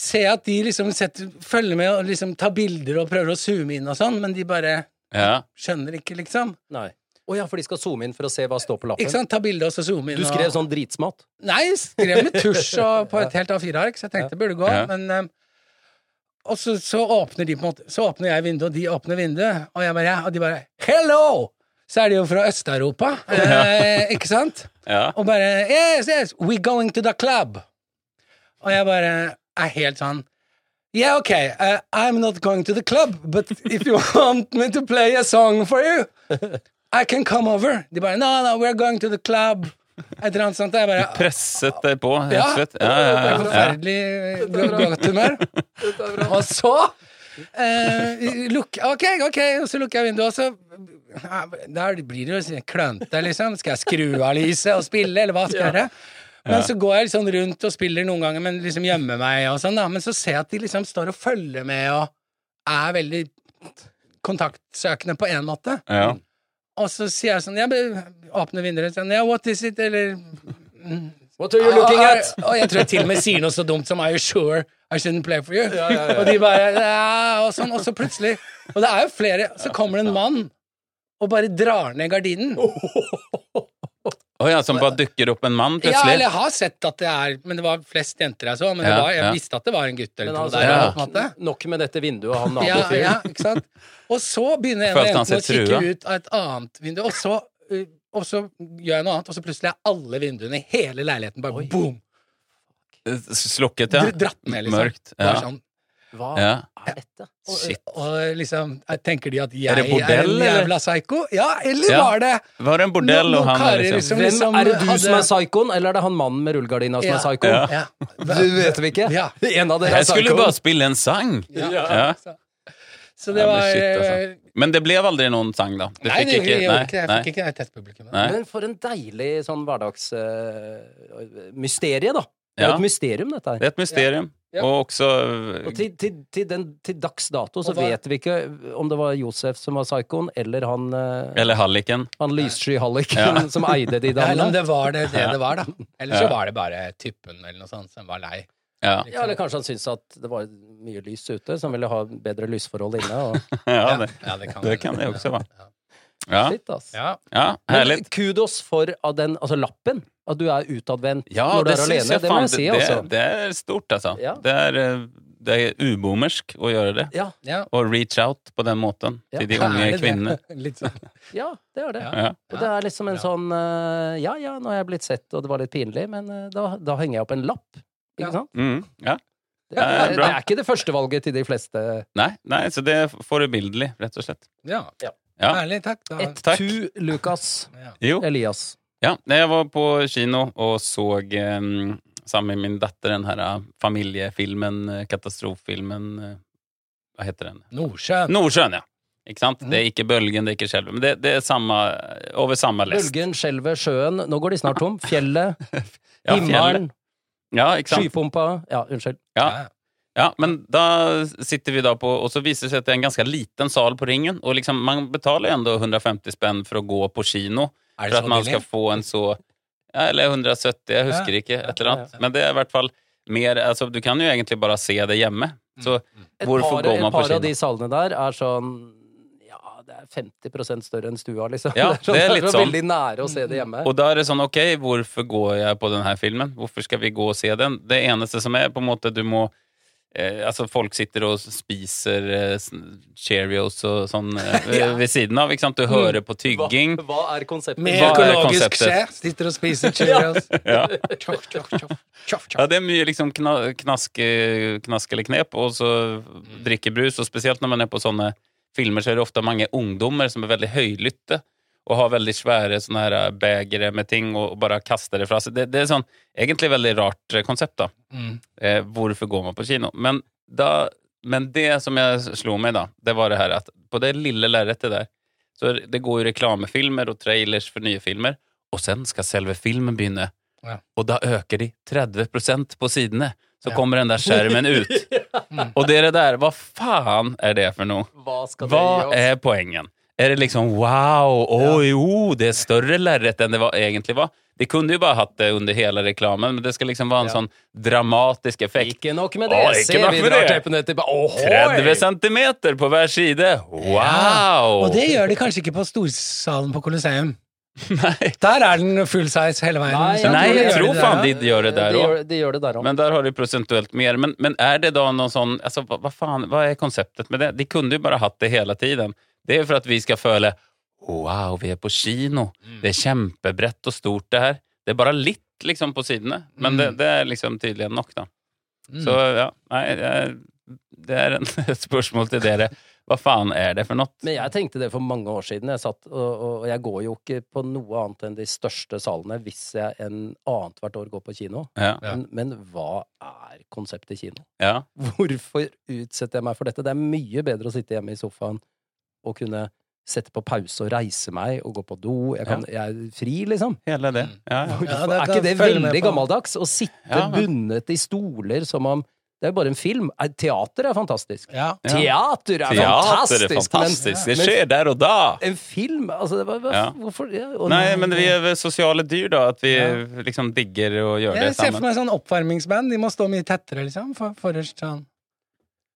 Speaker 1: ser jeg at de liksom setter, følger med og liksom tar bilder og prøver å zoome inn og sånn, men de bare
Speaker 2: ja.
Speaker 1: skjønner ikke, liksom.
Speaker 3: Nei. Å ja, for de skal zoome inn for å se hva står på
Speaker 1: Ikke
Speaker 3: lappen.
Speaker 1: sant? Ta bilde og så zoome inn.
Speaker 3: Du skrev
Speaker 1: og-
Speaker 3: sånn dritsmatt.
Speaker 1: Nei, jeg skrev med tusj og på et helt A4-ark, så jeg tenkte det burde gå.
Speaker 2: Ja.
Speaker 1: Men, ehm, og så, så åpner de på en måte Så åpner jeg vinduet, og de åpner vinduet, og, jeg bare, ja, og de bare 'Hello!' Så er de jo fra Øst-Europa, eh, ikke sant?
Speaker 2: ja.
Speaker 1: Og bare 'Yes, yes, we're going to the club'. Og jeg bare er helt sånn Yeah, okay, uh, I'm not going to the club, but if you want me to play a song for you, I can come over. De bare No, no, we're going to the club. Et eller annet sånt. og Jeg bare
Speaker 2: Presset deg på, rett
Speaker 1: Ja.
Speaker 2: og slett. Ja, ja,
Speaker 1: det er
Speaker 2: ja, ja.
Speaker 1: Forferdelig eh, godt humør. Og så eh, lukk- Ok, ok, og så lukker jeg vinduet, og så ja, Der blir det jo sånn klønete, liksom. Skal jeg skru av lyset og spille, eller hva skal jeg gjøre? Men så går jeg liksom rundt og spiller noen ganger, men liksom gjemmer meg og sånn, da. Men så ser jeg at de liksom står og følger med og er veldig kontaktsøkende på én måte.
Speaker 2: ja.
Speaker 1: Og så sier jeg sånn Jeg bare åpner vinduet og sier Ja, what is it? Eller
Speaker 3: What are you looking
Speaker 1: og-
Speaker 3: at?
Speaker 1: Og, og jeg tror jeg til og med sier noe så dumt som Are you sure I shouldn't play for you? Og de bare ja, og sånn, og så plutselig Og det er jo flere Så kommer det en mann og bare drar ned gardinen.
Speaker 3: Oh,
Speaker 2: Å ja, som bare dukker opp en mann
Speaker 1: Ja, eller
Speaker 2: plutselig?
Speaker 1: jeg har sett at det er Men det var flest jenter jeg så, men det
Speaker 2: Ja,
Speaker 1: var, jeg
Speaker 2: ja.
Speaker 1: visste at det var en gutt eller
Speaker 3: Men
Speaker 1: to
Speaker 3: altså,
Speaker 1: der.
Speaker 2: ja.
Speaker 1: på en måte.
Speaker 3: Nok med dette vinduet og han
Speaker 1: Ja,
Speaker 3: nabofyren.
Speaker 1: ja, ikke sant? Og så begynner en av
Speaker 2: Følte han
Speaker 1: jentene å
Speaker 2: seg
Speaker 1: kikke
Speaker 2: trua.
Speaker 1: ut av et annet vindu, og så, uh, og så gjør jeg noe annet, og så plutselig er alle vinduene i hele leiligheten bare boom!
Speaker 2: Slukket, ja.
Speaker 1: Dr- Dratt ned, liksom.
Speaker 2: Mørkt. Ja.
Speaker 1: Bare sånn,
Speaker 3: Hva
Speaker 2: Ja.
Speaker 3: er dette? Og-
Speaker 2: Shit.
Speaker 1: Og liksom, jeg tenker de at jeg
Speaker 2: Er
Speaker 1: er,
Speaker 2: det bordell,
Speaker 1: en
Speaker 2: eller?
Speaker 1: jævla psyko? Ja, eller
Speaker 2: Ja.
Speaker 1: var det
Speaker 2: Var det en
Speaker 1: Noen-
Speaker 2: bordell og
Speaker 1: noen
Speaker 2: han er
Speaker 1: karer
Speaker 2: liksom
Speaker 1: som liksom
Speaker 3: Hvem er det du
Speaker 1: hadde-
Speaker 3: som er psykoen, eller er det han mannen med rullegardina som
Speaker 1: Ja.
Speaker 3: er psykoen?
Speaker 2: Ja.
Speaker 1: Ja.
Speaker 3: Du vet vi ikke?
Speaker 1: Ja.
Speaker 3: En av dere er
Speaker 2: Jeg skulle
Speaker 3: psykoen.
Speaker 2: bare spille en sang!
Speaker 1: Ja.
Speaker 2: Ja.
Speaker 1: Så det
Speaker 2: Ja,
Speaker 1: var
Speaker 2: men shit,
Speaker 1: eh,
Speaker 2: altså. Men det blev aldrig någon sang då? Du
Speaker 1: Nei,
Speaker 2: fick
Speaker 1: det
Speaker 2: inte-
Speaker 1: gjorde
Speaker 2: nej,
Speaker 1: jeg ikke det.
Speaker 2: nej.
Speaker 1: Jeg fikk ikke det testpublikummet.
Speaker 2: Nei.
Speaker 3: Men for en deilig sånn hverdags... eh, mysterie, da. Det
Speaker 2: Ja,
Speaker 3: er jo et mysterium, dette her.
Speaker 2: det är ett mysterium.
Speaker 3: Ja.
Speaker 2: Och också...
Speaker 3: Og til, til, til, den, til dags dato så
Speaker 1: Og hva-
Speaker 3: vet vi ikke om det var Josef som var psykoen, eller han, eh,
Speaker 2: Eller halliken.
Speaker 3: han lyssky
Speaker 2: Ja.
Speaker 3: halliken som eide de
Speaker 1: Eller om
Speaker 3: damene.
Speaker 1: det var det, det,
Speaker 2: Ja.
Speaker 1: det var, da. Eller så
Speaker 2: Ja.
Speaker 1: var det bare typen eller noe sånt som var lei.
Speaker 2: Ja,
Speaker 3: Ja, eller kanskje han syntes at det var mye lys ute, så han ville ha bedre lysforhold inne. Og...
Speaker 2: ja det,
Speaker 1: ja, det kan
Speaker 2: det
Speaker 1: være.
Speaker 2: kan det også være.
Speaker 1: Ja.
Speaker 2: ja,
Speaker 3: Shit, ass.
Speaker 1: Ja.
Speaker 2: ja
Speaker 3: Men
Speaker 2: härligt.
Speaker 3: kudos for av den, altså lappen, at du er utadvendt
Speaker 2: Ja,
Speaker 3: når du
Speaker 2: det
Speaker 3: er
Speaker 2: syns
Speaker 3: alene.
Speaker 2: jeg
Speaker 3: Det må
Speaker 2: fan.
Speaker 3: jeg si,
Speaker 2: Det, det,
Speaker 3: altså.
Speaker 2: det er stort, altså.
Speaker 3: Ja.
Speaker 2: Det er, eh, det er uboomersk å gjøre det.
Speaker 3: Ja,
Speaker 1: Ja.
Speaker 2: Og reach out på den måten
Speaker 3: Ja.
Speaker 2: til de
Speaker 1: Ja, er
Speaker 2: unge
Speaker 1: det det?
Speaker 2: kvinnene.
Speaker 1: Litt sånn.
Speaker 3: ja, det er det.
Speaker 1: Ja.
Speaker 2: Ja.
Speaker 3: Og det er liksom en
Speaker 1: Ja.
Speaker 3: sånn eh, Ja ja, nå har jeg blitt sett, og det var litt pinlig, men eh, da, da henger jeg opp en lapp.
Speaker 1: Ja.
Speaker 3: Ikke sant?
Speaker 2: Mm, ja.
Speaker 3: Det er,
Speaker 2: Ja,
Speaker 3: det
Speaker 2: bra.
Speaker 3: er ikke det første valget til de fleste.
Speaker 2: Nei, nei, så det er forbilledlig, rett og slett.
Speaker 1: Ja.
Speaker 2: Ja.
Speaker 1: Ærlig, takk. Da.
Speaker 3: Et
Speaker 2: Takk.
Speaker 3: tu Lukas
Speaker 1: Ja.
Speaker 2: Jo.
Speaker 3: Elias.
Speaker 2: Ja, när jag var på kino och såg eh, sammen med min dotter den här eh, familjefilmen, eh, katastroffilmen, eh, vad heter den?
Speaker 1: Nordsjøen.
Speaker 2: Nordsjön, ja. Ikke sant?
Speaker 1: Mm.
Speaker 2: Det er ikke bølgen, det er ikke skjelvet, men det, det er samme, over samme lest.
Speaker 3: Bølgen, skjelvet, sjøen. Nå går de snart tom. Fjellet,
Speaker 2: Ja, fjellet.
Speaker 3: himmelen,
Speaker 2: Ja, ikke sant?
Speaker 3: skypumpa Ja, unnskyld.
Speaker 2: Ja. Ja, men da sitter vi da på, og så viser det seg at det er en ganske liten sal på ringen, og liksom, man betaler jo ändå 150 spenn for å gå på kino,
Speaker 1: Er
Speaker 2: for
Speaker 1: det
Speaker 2: at
Speaker 1: så
Speaker 2: man
Speaker 1: billig?
Speaker 2: skal få en så, ja, eller 170, jeg husker ikke, et eller annet, men det er i hvert fall mer, altså du kan jo egentlig bare se det hjemme,
Speaker 1: Mm.
Speaker 2: så
Speaker 3: Et
Speaker 2: hvorfor
Speaker 3: par,
Speaker 2: går
Speaker 3: et
Speaker 2: man på
Speaker 3: par av de
Speaker 2: kino?
Speaker 3: salene der er sånn Ja, det er 50 større enn stua, liksom.
Speaker 2: Ja,
Speaker 3: sånn-
Speaker 2: det er litt sånn.
Speaker 3: veldig nære å se det hjemme.
Speaker 2: Og da er det sånn, ok, hvorfor går jeg på denne filmen? Hvorfor skal vi gå og se den? Det eneste som er, på en måte, du må eh, Altså, folk sitter og spiser eh, sn- Cheerios og sånn eh, ved- ved siden av, ikke sant?
Speaker 1: Mm.
Speaker 2: Du hører på tygging.
Speaker 3: Hva, hva er konseptet?
Speaker 1: Med
Speaker 2: Hva er
Speaker 1: økologisk
Speaker 2: konseptet?
Speaker 1: skje. Sitter og spiser Cheerios.
Speaker 2: Ja.
Speaker 1: Tjoff, tjoff, tjoff. Tjoff,
Speaker 2: Ja,
Speaker 1: tjoff.
Speaker 2: det er mye liksom kna, knaske, knask eller knep, og så drikke brus. Og spesielt når man er på sånne filmer, så er det ofte mange ungdommer som er veldig høylytte. Og har veldig svære sånne her begre med ting og bare kaster det fra seg. Det, det er sånn, egentlig veldig rart eh, konsept, da.
Speaker 1: Mm.
Speaker 2: Eh, hvorfor går man på kino? Men, da, men det som jeg slo meg, da, det var det her at på det lille lerretet der så det går jo reklamefilmer og trailers for nye filmer, og sen skal selve filmen begynne.
Speaker 1: Ja.
Speaker 2: Og da øker de 30 på sidene. Så
Speaker 1: Ja.
Speaker 2: kommer den der skjermen ut. Og det er det der. Hva faen er det for noe?
Speaker 3: Hva skal det gi
Speaker 2: Hva
Speaker 3: oss?
Speaker 2: er poengen? Er det liksom wow, oj, oh, det er større lerret enn det var, egentlig var? De kunne jo bare hatt det under hele reklamen, men det skal liksom være en
Speaker 3: Ja.
Speaker 2: sånn dramatisk effekt.
Speaker 3: Ikke nok med det.
Speaker 2: Å, ikke
Speaker 3: Se,
Speaker 2: nok
Speaker 3: vi
Speaker 2: med
Speaker 3: drar
Speaker 2: det.
Speaker 3: teppene tilbake. Ohoi!
Speaker 2: 30 centimeter på hver side! Wow!
Speaker 1: Og det gjør de kanskje ikke på storsalen på Colosseum.
Speaker 2: Nei,
Speaker 1: Der er den full size hele veien.
Speaker 3: Nei,
Speaker 1: Så
Speaker 2: Nei,
Speaker 1: de
Speaker 2: jeg
Speaker 1: gjør
Speaker 2: tror
Speaker 1: det
Speaker 2: faen
Speaker 1: der,
Speaker 2: de gjør det der
Speaker 3: De
Speaker 2: òg.
Speaker 3: gjør, de gjør det der òg.
Speaker 2: Men der har de prosentuelt mer. Men, men er det da noen sånn altså, hva, hva faen, hva er konseptet med det? De kunne jo bare hatt det hele tiden. Det er jo for at vi skal føle Wow, vi er på kino. Det er kjempebrett og stort, det her. Det er bare litt liksom på sidene, men det, det er liksom tydelig nok, da.
Speaker 1: Mm.
Speaker 2: Så ja, nei, det er, det er en, et spørsmål til dere. Hva faen er det for noe?
Speaker 3: Men jeg tenkte det for mange år siden. Jeg satt, og, og jeg går jo ikke på noe annet enn de største salene hvis jeg en annethvert år går på kino.
Speaker 2: Ja,
Speaker 1: Ja.
Speaker 3: Men, men hva er konseptet kino?
Speaker 2: ja.
Speaker 3: Hvorfor utsetter jeg meg for dette? Det er mye bedre å sitte hjemme i sofaen og kunne sette på pause og reise meg og gå på do. Jeg, kan, jeg er fri, liksom.
Speaker 2: Hele det. Ja, ja.
Speaker 1: Ja,
Speaker 3: Hvorfor-
Speaker 1: det-
Speaker 3: er ikke det
Speaker 1: det følger med
Speaker 3: veldig
Speaker 1: på.
Speaker 3: gammeldags? Å sitte
Speaker 2: Ja, men-
Speaker 3: bundet i stoler som om Det er jo bare en film. Eh, Teater er fantastisk.
Speaker 1: Ja.
Speaker 2: Ja.
Speaker 3: Teater er
Speaker 2: Teater er
Speaker 3: fantastisk! men-
Speaker 2: fantastisk! Det skjer der og da!
Speaker 3: en film? Altså, det var, hva,
Speaker 2: Ja.
Speaker 3: hvorfor ja, og
Speaker 2: Nei, men vi er vel sosiale dyr, da. At vi
Speaker 1: Ja.
Speaker 2: liksom digger å gjøre det
Speaker 1: Jeg ser for
Speaker 2: sammen.
Speaker 1: meg sånn oppvarmingsband. De må stå mye tettere, liksom. For, forrest sånn.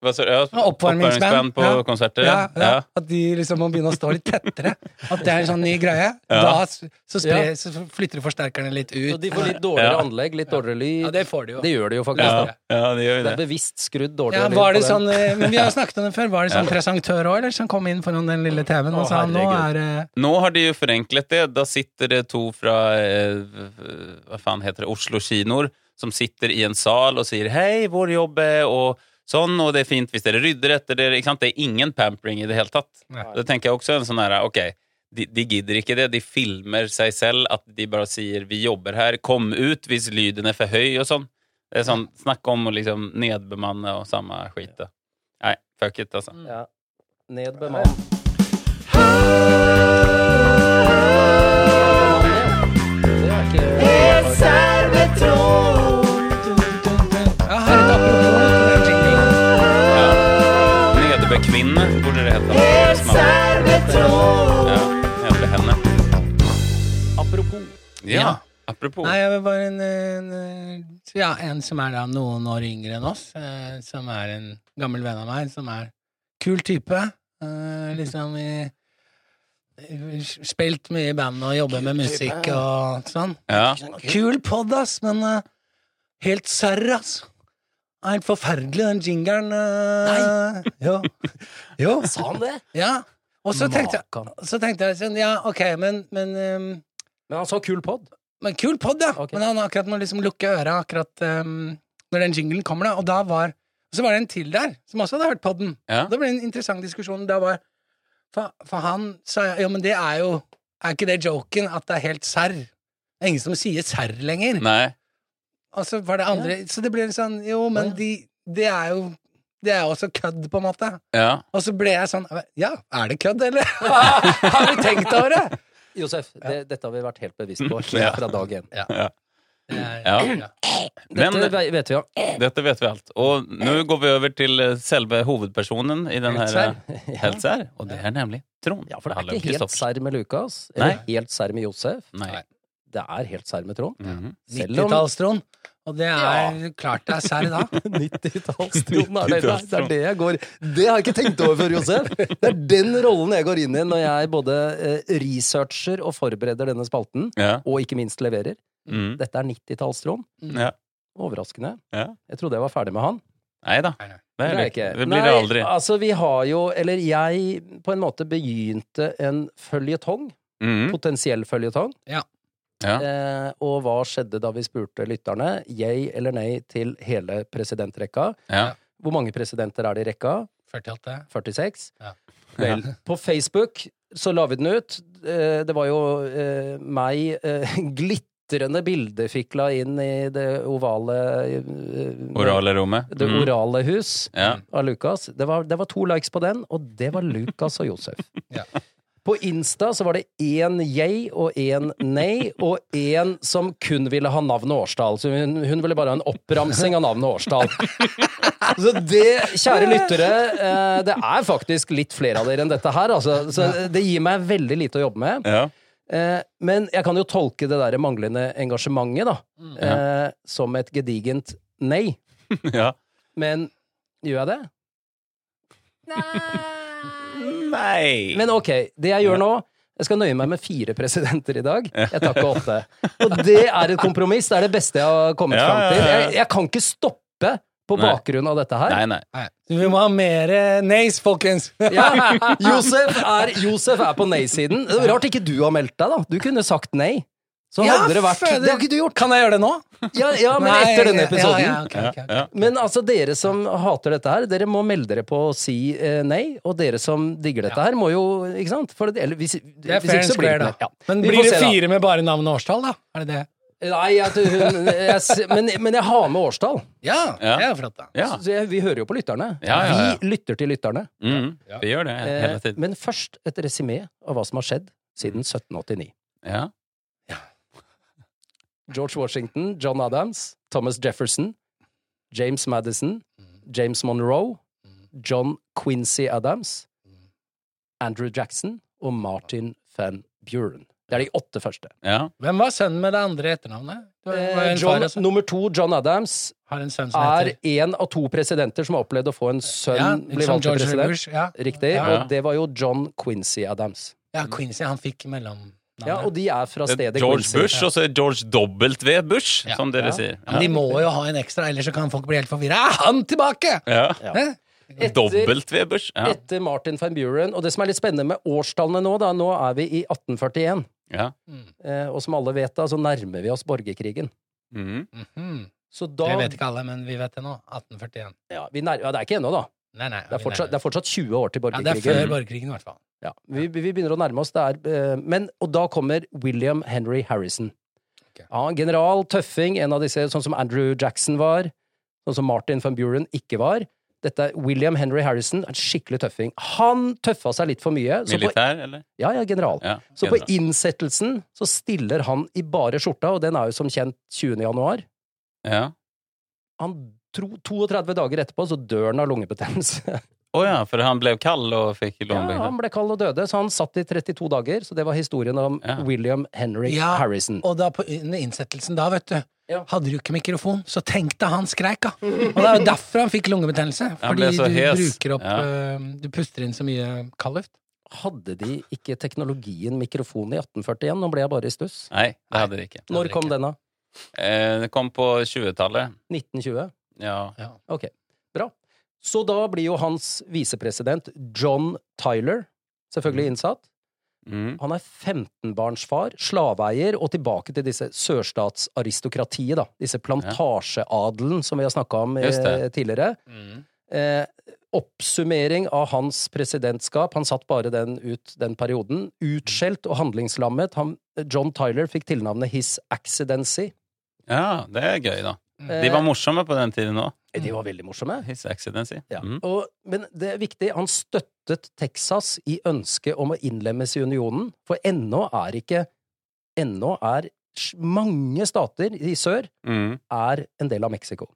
Speaker 2: Hva sa du? Ja,
Speaker 1: Ja, oppvarmingsband.
Speaker 2: Oppvarmingsband på
Speaker 1: Ja.
Speaker 2: konserter.
Speaker 1: Ja, ja.
Speaker 2: Ja.
Speaker 1: At de liksom må begynne å stå litt tettere. At det er en sånn ny greie.
Speaker 2: Ja.
Speaker 1: Da s- så,
Speaker 3: Ja.
Speaker 1: sprer, så flytter du forsterkerne litt
Speaker 3: Så
Speaker 1: ut.
Speaker 3: de får litt dårligere
Speaker 2: Ja.
Speaker 3: anlegg, litt dårligere lyd.
Speaker 1: Ja, det får de jo.
Speaker 3: Det gjør de jo faktisk.
Speaker 2: Ja.
Speaker 3: Da.
Speaker 2: ja, det gjør jo
Speaker 3: Det er
Speaker 2: det.
Speaker 3: bevisst skrudd
Speaker 1: Ja,
Speaker 3: dårligere
Speaker 1: var det
Speaker 3: lyd på
Speaker 1: sånn,
Speaker 3: den.
Speaker 1: eh, men vi har snakket om det før. Var det sånn presentør òg, eller? Som kom inn foran den lille TV-en og
Speaker 3: Å,
Speaker 1: sa nå er eh,
Speaker 3: herregud.
Speaker 1: det
Speaker 2: Nå har de jo forenklet det. Da sitter det to fra eh, hva faen heter det, Oslo kinoer som sitter i en sal og sier 'hei, vår jobb er og sånn', og 'det er fint hvis dere rydder etter dere'. Ikke sant? Det er ingen pampering i det hele tatt.
Speaker 1: Nei.
Speaker 2: Da tenker jeg også en sånn her Ok, de, de gidder ikke det. De filmer seg selv at de bare sier 'vi jobber her', 'kom ut hvis lyden er for høy' og sånn. Det er sånn Snakk om å liksom
Speaker 3: Mm.
Speaker 2: nedbemanne og samme skit. da. Nei, fuck it, altså.
Speaker 3: Ja. Ned bemann.
Speaker 2: Elvekvinne borde det heta. Ja, Elvehenne. Apropos. Ja,
Speaker 1: Ja.
Speaker 2: apropos.
Speaker 1: Nei, jeg vil bare en, en, eh, ja, en som er da noen år yngre enn oss, eh, som er en gammel venn av meg, som er kul type. Eh, liksom i Spilt mye i band og jobber med musikk og sånn.
Speaker 2: Ja.
Speaker 1: Kul pod, ass, men eh, helt serr, ass. Det er Helt forferdelig, den jingeren. eh, Jo. jo.
Speaker 3: Sa han det?
Speaker 1: Ja. Og så tenkte, jeg-
Speaker 3: Makan.
Speaker 1: så tenkte jeg sånn, ja, ok, men, men ehm,
Speaker 3: Men han sa kul pod.
Speaker 1: men kul pod, ja.
Speaker 3: Ok.
Speaker 1: Men han akkurat må liksom lukke øra akkurat ehm, når den jinglen kommer, da. Og da var Så var det en til der, som også hadde hørt podden.
Speaker 2: Ja.
Speaker 1: Og Det ble en interessant diskusjon. Da var For, for han sa jo, men det er jo Er ikke det joken at det er helt serr? Det er ingen som sier serr lenger.
Speaker 2: Nei.
Speaker 1: Og så var det andre Så det ble litt sånn Jo, men
Speaker 3: Ja.
Speaker 1: de Det er jo Det er jo også kødd, på en måte.
Speaker 2: Ja.
Speaker 1: Og så ble jeg sånn Ja, er det kødd, eller? Har vi tenkt over det?
Speaker 3: Josef, det, dette har vi vært helt bevisst på
Speaker 2: Ja.
Speaker 3: helt fra dag én.
Speaker 2: Ja.
Speaker 1: ja.
Speaker 2: Men
Speaker 3: Dette ve- vet vi jo.
Speaker 2: dette vet vi alt. Og nå går vi over til eh, selve hovedpersonen i den her
Speaker 1: Helt
Speaker 2: eh, Helt serr. Og det er nemlig Trond.
Speaker 3: Ja, for det er
Speaker 2: Hallum
Speaker 3: ikke helt
Speaker 2: Kristoffersen.
Speaker 3: serr med Lukas. Eller
Speaker 2: Nei.
Speaker 3: helt serr med Josef.
Speaker 2: Nei.
Speaker 3: Det er helt serr med Trond.
Speaker 2: Mhm.
Speaker 3: Selv om
Speaker 1: 90-tallstron. Og det er klart det er serr da.
Speaker 3: 90-tallstronen er det. Nei, Det er det jeg går Det har jeg ikke tenkt over før, Josef. Det er den rollen jeg går inn i når jeg både eh, researcher og forbereder denne spalten,
Speaker 2: Ja.
Speaker 3: og ikke minst leverer.
Speaker 2: Mm.
Speaker 3: Dette er 90-tallstrån.
Speaker 2: ja.
Speaker 3: Overraskende.
Speaker 2: Ja.
Speaker 3: Jeg trodde jeg var ferdig med han.
Speaker 2: Nei da.
Speaker 1: Nei, nei.
Speaker 2: Det, er det
Speaker 3: Det er
Speaker 2: ikke.
Speaker 3: ikke.
Speaker 2: Det blir det aldri.
Speaker 3: Nei, altså, vi har jo Eller jeg på en måte begynte en føljetong.
Speaker 2: Mhm.
Speaker 3: Potensiell føljetong.
Speaker 1: Mm. Ja.
Speaker 2: Ja.
Speaker 3: Eh, og hva skjedde da vi spurte lytterne? Yay eller nei til hele presidentrekka?
Speaker 2: Ja.
Speaker 3: Hvor mange presidenter er det i rekka?
Speaker 1: 48.
Speaker 3: 46.
Speaker 1: Ja.
Speaker 3: Vel, på Facebook så la vi den ut. Eh, Det var jo eh, meg eh, glitrende bildefikla inn i det ovale eh,
Speaker 2: Orale rommet.
Speaker 3: Det
Speaker 2: Mm.
Speaker 3: orale hus
Speaker 2: Ja.
Speaker 3: av Lukas. Det var, det var to likes på den, og det var Lukas og Josef.
Speaker 1: Ja.
Speaker 3: På Insta så var det én yay og én nei, og én som kun ville ha navn og årstall. Så hun, hun ville bare ha en oppramsing av navn og årstall. Så det, kjære lyttere, eh, det er faktisk litt flere av dere enn dette her, altså. Så det gir meg veldig lite å jobbe med.
Speaker 2: Ja.
Speaker 3: Eh, Men jeg kan jo tolke det der manglende engasjementet, da, eh, som et gedigent nei.
Speaker 2: ja.
Speaker 3: Men gjør jeg det?
Speaker 2: Nei.
Speaker 3: Men ok, det jeg gjør nå Jeg skal nøye meg med fire presidenter i dag. Jeg takker åtte. Og det er et kompromiss. Det er det beste jeg har kommet
Speaker 2: Ja,
Speaker 3: fram til.
Speaker 2: ja, ja.
Speaker 3: Jeg, jeg kan ikke stoppe på
Speaker 2: Nei.
Speaker 3: bakgrunn av dette her.
Speaker 2: Nei, nei.
Speaker 1: Nei. Vi må ha mer eh, neis, folkens!
Speaker 3: Ja, Josef, er, Josef er på nei-siden. Det er Rart ikke du har meldt deg, da. Du kunne sagt nei. Så
Speaker 1: Ja,
Speaker 3: hadde det vært
Speaker 1: fader.
Speaker 3: Det har ikke du gjort.
Speaker 1: Kan jeg gjøre det nå?
Speaker 3: Ja, ja men
Speaker 1: Nei,
Speaker 3: etter denne
Speaker 1: ja,
Speaker 3: episoden.
Speaker 1: Ja, ok,
Speaker 2: Ja,
Speaker 1: ok, ok.
Speaker 2: ja.
Speaker 3: Men altså, dere som hater dette her, dere må melde dere på å si eh, nei. Og dere som digger dette her, må jo Ikke sant? For det, eller, hvis,
Speaker 1: Det er
Speaker 3: hvis ikke
Speaker 1: fair and
Speaker 3: så blir
Speaker 1: square,
Speaker 3: det
Speaker 1: da.
Speaker 3: ikke. Ja.
Speaker 1: Men
Speaker 3: Vi får
Speaker 1: blir det
Speaker 3: se, da.
Speaker 1: fire med bare navn og årstall, da? Er det det?
Speaker 3: Nei, jeg, hun, jeg, s- men, men jeg har med årstall.
Speaker 1: Ja,
Speaker 2: Ja.
Speaker 1: det er flott, da.
Speaker 2: ja.
Speaker 3: Så jeg, vi hører jo på lytterne.
Speaker 2: Ja, ja, ja.
Speaker 3: Vi lytter til lytterne.
Speaker 2: Mm. Vi gjør det hele
Speaker 3: Eh,
Speaker 2: tiden.
Speaker 3: men først et resymé av hva som har skjedd siden 1789.
Speaker 2: Ja.
Speaker 3: George Washington, John Adams, Thomas Jefferson, James Madison, James Monroe, John Quincy Adams, Andrew Jackson og Martin Van Buren. Det er de åtte første.
Speaker 2: Ja.
Speaker 1: Hvem var sønnen med det andre etternavnet? Det var- var
Speaker 3: Eh,
Speaker 1: en
Speaker 3: John,
Speaker 1: far også.
Speaker 3: nummer to, John Adams,
Speaker 1: Har en sønn som
Speaker 3: er
Speaker 1: heter
Speaker 3: én av to presidenter som har opplevd å få en sønn
Speaker 1: ja,
Speaker 3: bli
Speaker 1: som
Speaker 3: valgt til
Speaker 1: George
Speaker 3: president.
Speaker 1: Bush. Ja.
Speaker 3: Riktig.
Speaker 1: Ja.
Speaker 2: Ja.
Speaker 3: Og det var jo John Quincy Adams.
Speaker 1: ja, Quincy. Han fikk mellomnavnet.
Speaker 3: Ja, Og de er fra stedet
Speaker 2: Eh, George
Speaker 3: Quincy.
Speaker 2: Bush, og så er George W. Bush,
Speaker 1: Ja.
Speaker 2: som dere
Speaker 3: Ja.
Speaker 2: sier.
Speaker 1: Men de må jo ha en ekstra, ellers så kan folk bli helt forvirra. Er han tilbake?!
Speaker 2: Ja.
Speaker 1: Hæ?
Speaker 3: Etter,
Speaker 2: W. Bush. Ja.
Speaker 3: etter Martin van Buren. Og det som er litt spennende med årstallene nå, da, nå er vi i 1841.
Speaker 2: Ja.
Speaker 1: Mm.
Speaker 3: Eh, og som alle vet, da, så nærmer vi oss borgerkrigen.
Speaker 2: Mm.
Speaker 1: Mhm.
Speaker 3: Så da
Speaker 1: Dere vet ikke alle, men vi vet det nå. 1841.
Speaker 3: ja, vi nær, ja, Det er ikke ennå, da.
Speaker 1: Nei, nei.
Speaker 3: Det er,
Speaker 1: vi
Speaker 3: fortsatt,
Speaker 1: nærmer
Speaker 3: det er fortsatt 20 år til
Speaker 1: oss. ja, det er
Speaker 3: borgerkrigen.
Speaker 1: før borgerkrigen, i hvert fall.
Speaker 3: Ja, vi, vi begynner å nærme oss. Det er, eh, men, og da kommer William Henry Harrison.
Speaker 1: Ok.
Speaker 3: Ja, en general, tøffing, en av disse sånn som Andrew Jackson var, sånn som Martin van Buren ikke var. Dette er William Henry Harrison, en skikkelig tøffing. Han tøffa seg litt for mye. Så på,
Speaker 2: Militær, eller?
Speaker 3: ja, ja, general.
Speaker 2: Ja.
Speaker 3: Så på innsettelsen så stiller han i bare skjorta, og den er jo som kjent 20. januar.
Speaker 2: ja.
Speaker 3: Han tro, 32 dager etterpå så dør han av lungebetennelse.
Speaker 2: Å ja, for han ble kald og fikk
Speaker 3: Ja,
Speaker 2: lånebøker.
Speaker 3: han ble kald og døde, så han satt i 32 dager. Så det var historien om
Speaker 2: Ja.
Speaker 3: William Henry
Speaker 1: Ja,
Speaker 3: Harrison.
Speaker 1: Og da på, under innsettelsen da, vet du,
Speaker 3: Ja.
Speaker 1: hadde du ikke mikrofon, så tenk deg han skreik, da. Og det er jo derfor han fikk lungebetennelse.
Speaker 2: Han
Speaker 1: Fordi
Speaker 2: ble
Speaker 1: du
Speaker 2: så hes.
Speaker 1: bruker opp
Speaker 2: Ja.
Speaker 1: eh, Du puster inn så mye kaldluft.
Speaker 3: Hadde de ikke teknologien mikrofon i 1841? Nå ble jeg bare i stuss.
Speaker 2: Nei, det hadde de ikke.
Speaker 3: Når kom den, da?
Speaker 2: Eh, det kom på 20-tallet.
Speaker 3: 1920?
Speaker 2: Ja.
Speaker 3: Ok, bra. Så da blir jo hans visepresident John Tyler selvfølgelig innsatt.
Speaker 2: Mm.
Speaker 3: Han er 15-barnsfar, slaveeier, og tilbake til disse sørstatsaristokratiet, da. Disse plantasjeadelen som vi har snakka om eh,
Speaker 2: Just det.
Speaker 3: tidligere. Eh, oppsummering av hans presidentskap, han satt bare den ut den perioden. Utskjelt og handlingslammet. Han, John Tyler fikk tilnavnet His Accidency.
Speaker 2: ja, det er gøy, da.
Speaker 3: Eh,
Speaker 2: De var morsomme på den tiden òg.
Speaker 3: de var veldig morsomme.
Speaker 2: His Accidency.
Speaker 3: Ja.
Speaker 2: Mm.
Speaker 3: Og, men det er viktig, han støttet Texas i ønsket om å innlemmes i unionen, for ennå er ikke Ennå er sj- mange stater i sør
Speaker 2: Mm.
Speaker 3: er en del av Mexico.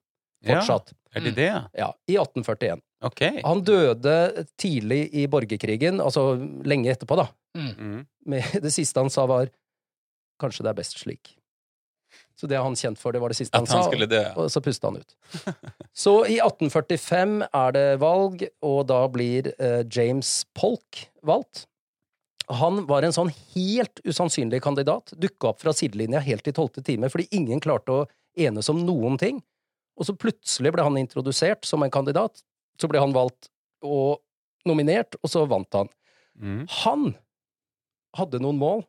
Speaker 2: Ja,
Speaker 3: Fortsatt.
Speaker 2: er de det?
Speaker 3: Ja, I 1841.
Speaker 2: Ok.
Speaker 3: Han døde tidlig i borgerkrigen, altså lenge etterpå, da.
Speaker 2: Mm.
Speaker 3: Men det siste han sa, var 'kanskje det er best slik'. Så det er han kjent for, det var det siste
Speaker 2: At han
Speaker 3: sa.
Speaker 2: skulle dø.
Speaker 3: Og så pusta han ut. Så i 1845 er det valg, og da blir eh, James Polk valgt. Han var en sånn helt usannsynlig kandidat. Dukka opp fra sidelinja helt i tolvte time fordi ingen klarte å enes om noen ting. Og så plutselig ble han introdusert som en kandidat. Så ble han valgt og nominert, og så vant han.
Speaker 2: Mm.
Speaker 3: Han hadde noen mål.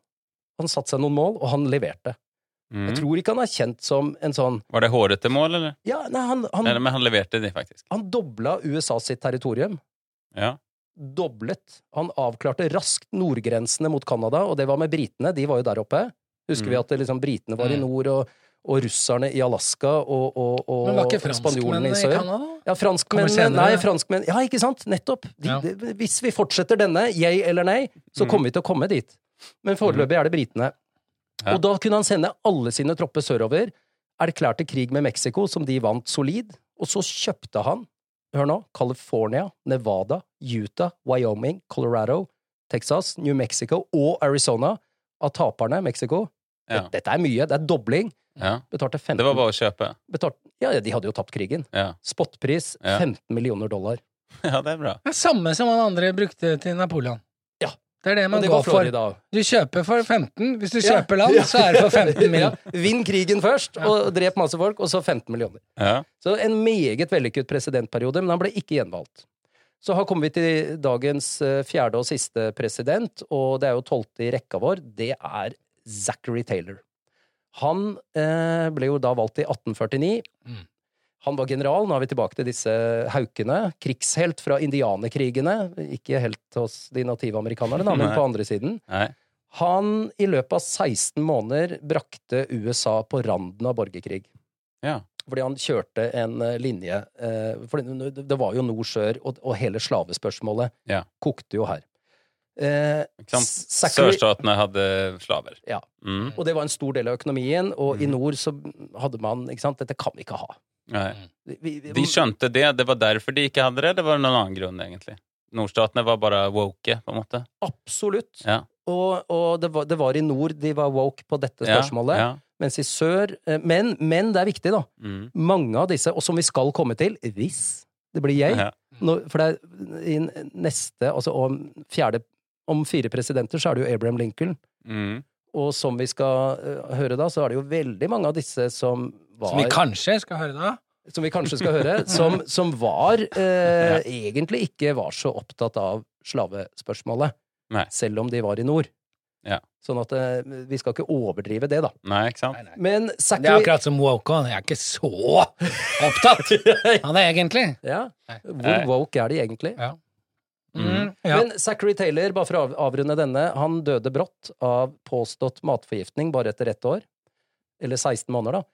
Speaker 3: Han satte seg noen mål, og han leverte. Jeg
Speaker 2: Mm.
Speaker 3: tror ikke han er kjent som en sånn
Speaker 2: Var det hårete mål, eller?
Speaker 3: Ja, nei, han, han
Speaker 2: Eller, men han leverte de, faktisk.
Speaker 3: Han dobla USA sitt territorium.
Speaker 2: Ja.
Speaker 3: Doblet. Han avklarte raskt nordgrensene mot Canada, og det var med britene. De var jo der oppe. Husker
Speaker 2: Mm.
Speaker 3: vi at det, liksom, britene var i
Speaker 1: Mm.
Speaker 3: nord, og, og russerne i Alaska, og, og,
Speaker 1: Men var
Speaker 3: og
Speaker 1: ikke franskmennene
Speaker 3: spanjolene i
Speaker 1: i
Speaker 3: sør.
Speaker 1: Canada?
Speaker 3: Ja,
Speaker 1: Kommer
Speaker 3: franskmennene
Speaker 1: senere.
Speaker 3: Nei, franskmenn Ja, ikke sant? Nettopp. De,
Speaker 1: Ja.
Speaker 3: de, hvis vi fortsetter denne, yay eller nei, så
Speaker 2: Mm.
Speaker 3: kommer vi til å komme dit. Men foreløpig er det britene.
Speaker 2: Ja.
Speaker 3: Og da kunne han sende alle sine tropper sørover, erklærte krig med Mexico, som de vant solid, og så kjøpte han, hør nå, California, Nevada, Utah, Wyoming, Colorado, Texas, New Mexico og Arizona av taperne, Mexico.
Speaker 2: Ja.
Speaker 3: Dette er mye, det er dobling.
Speaker 2: ja.
Speaker 3: Betalte
Speaker 2: Det
Speaker 3: 15
Speaker 2: var bare å kjøpe.
Speaker 3: betalt, Ja, de hadde jo tapt krigen.
Speaker 2: Ja,
Speaker 3: Spotpris
Speaker 2: Ja.
Speaker 3: 15 millioner dollar.
Speaker 2: ja det er bra.
Speaker 1: Det er samme som han andre brukte til Napoleon.
Speaker 3: Ja.
Speaker 1: Det er det man
Speaker 3: Og det
Speaker 1: går
Speaker 3: var
Speaker 1: for.
Speaker 3: Florida.
Speaker 1: Du kjøper for 15. Hvis du
Speaker 3: Ja.
Speaker 1: kjøper land,
Speaker 3: Ja.
Speaker 1: så er det for 15 mill.
Speaker 3: Ja. Vinn krigen først, og drep masse folk, og så 15 millioner.
Speaker 2: Ja.
Speaker 3: Så en meget vellykket presidentperiode, men han ble ikke gjenvalgt. Så har kommet vi til dagens eh, fjerde og siste president, og det er jo tolvte i rekka vår. Det er Zachary Taylor. Han eh, ble jo da valgt i 1849.
Speaker 1: Mm.
Speaker 3: Han var general, nå er vi tilbake til disse haukene. Krigshelt fra indianerkrigene. Ikke helt hos de native amerikanerne, da, men
Speaker 2: Nei.
Speaker 3: på andre siden.
Speaker 2: Nei.
Speaker 3: Han i løpet av 16 måneder brakte USA på randen av borgerkrig.
Speaker 2: Ja.
Speaker 3: Fordi han kjørte en eh, linje eh, For det, det var jo nord-sør, og, og hele slavespørsmålet
Speaker 2: Ja.
Speaker 3: kokte jo her. Eh,
Speaker 2: Ikke sant?
Speaker 3: S- Zachary-
Speaker 2: Sørstatene hadde slaver.
Speaker 3: Ja.
Speaker 2: Mm.
Speaker 3: og det var en stor del av økonomien, og i
Speaker 2: Mm.
Speaker 3: nord så hadde man ikke sant, Dette kan vi ikke ha.
Speaker 2: Nei.
Speaker 3: Vi, vi, vi,
Speaker 2: De skjønte det, det var derfor de ikke hadde det, eller var det noen annen grunn, egentlig? Nordstatene var bare woke, på en måte.
Speaker 3: absolutt.
Speaker 2: Ja.
Speaker 3: Og, og det, var, det var i nord de var woke på dette
Speaker 2: Ja,
Speaker 3: spørsmålet,
Speaker 2: Ja.
Speaker 3: mens i sør eh, men, men det er viktig, da.
Speaker 2: Mm.
Speaker 3: mange av disse, og som vi skal komme til, hvis det blir jeg,
Speaker 2: Ja.
Speaker 3: nå- for det er i neste, altså om fjerde, om fire presidenter, så er det jo Abraham Lincoln,
Speaker 2: Mm.
Speaker 3: og som vi skal eh, høre da, så er det jo veldig mange av disse som var,
Speaker 1: Som vi kanskje skal høre da.
Speaker 3: som vi kanskje skal høre, som, som var, eh, egentlig ikke var så opptatt av slavespørsmålet,
Speaker 2: Nei.
Speaker 3: selv om de var i nord.
Speaker 2: Ja.
Speaker 3: Sånn at eh, vi skal ikke overdrive det da.
Speaker 2: Nei, ikke sant?
Speaker 1: Nei, nei.
Speaker 3: Men
Speaker 1: Det er
Speaker 3: Zachary...
Speaker 1: akkurat som Woko. Han er ikke så opptatt av det, egentlig.
Speaker 3: Ja.
Speaker 1: Nei. Eh.
Speaker 3: Hvor woke er de egentlig?
Speaker 1: Mm, ja.
Speaker 3: Men Zachary Taylor, bare for å av- avrunde denne, han døde brått av påstått matforgiftning bare etter ett år. Eller 16 måneder, da.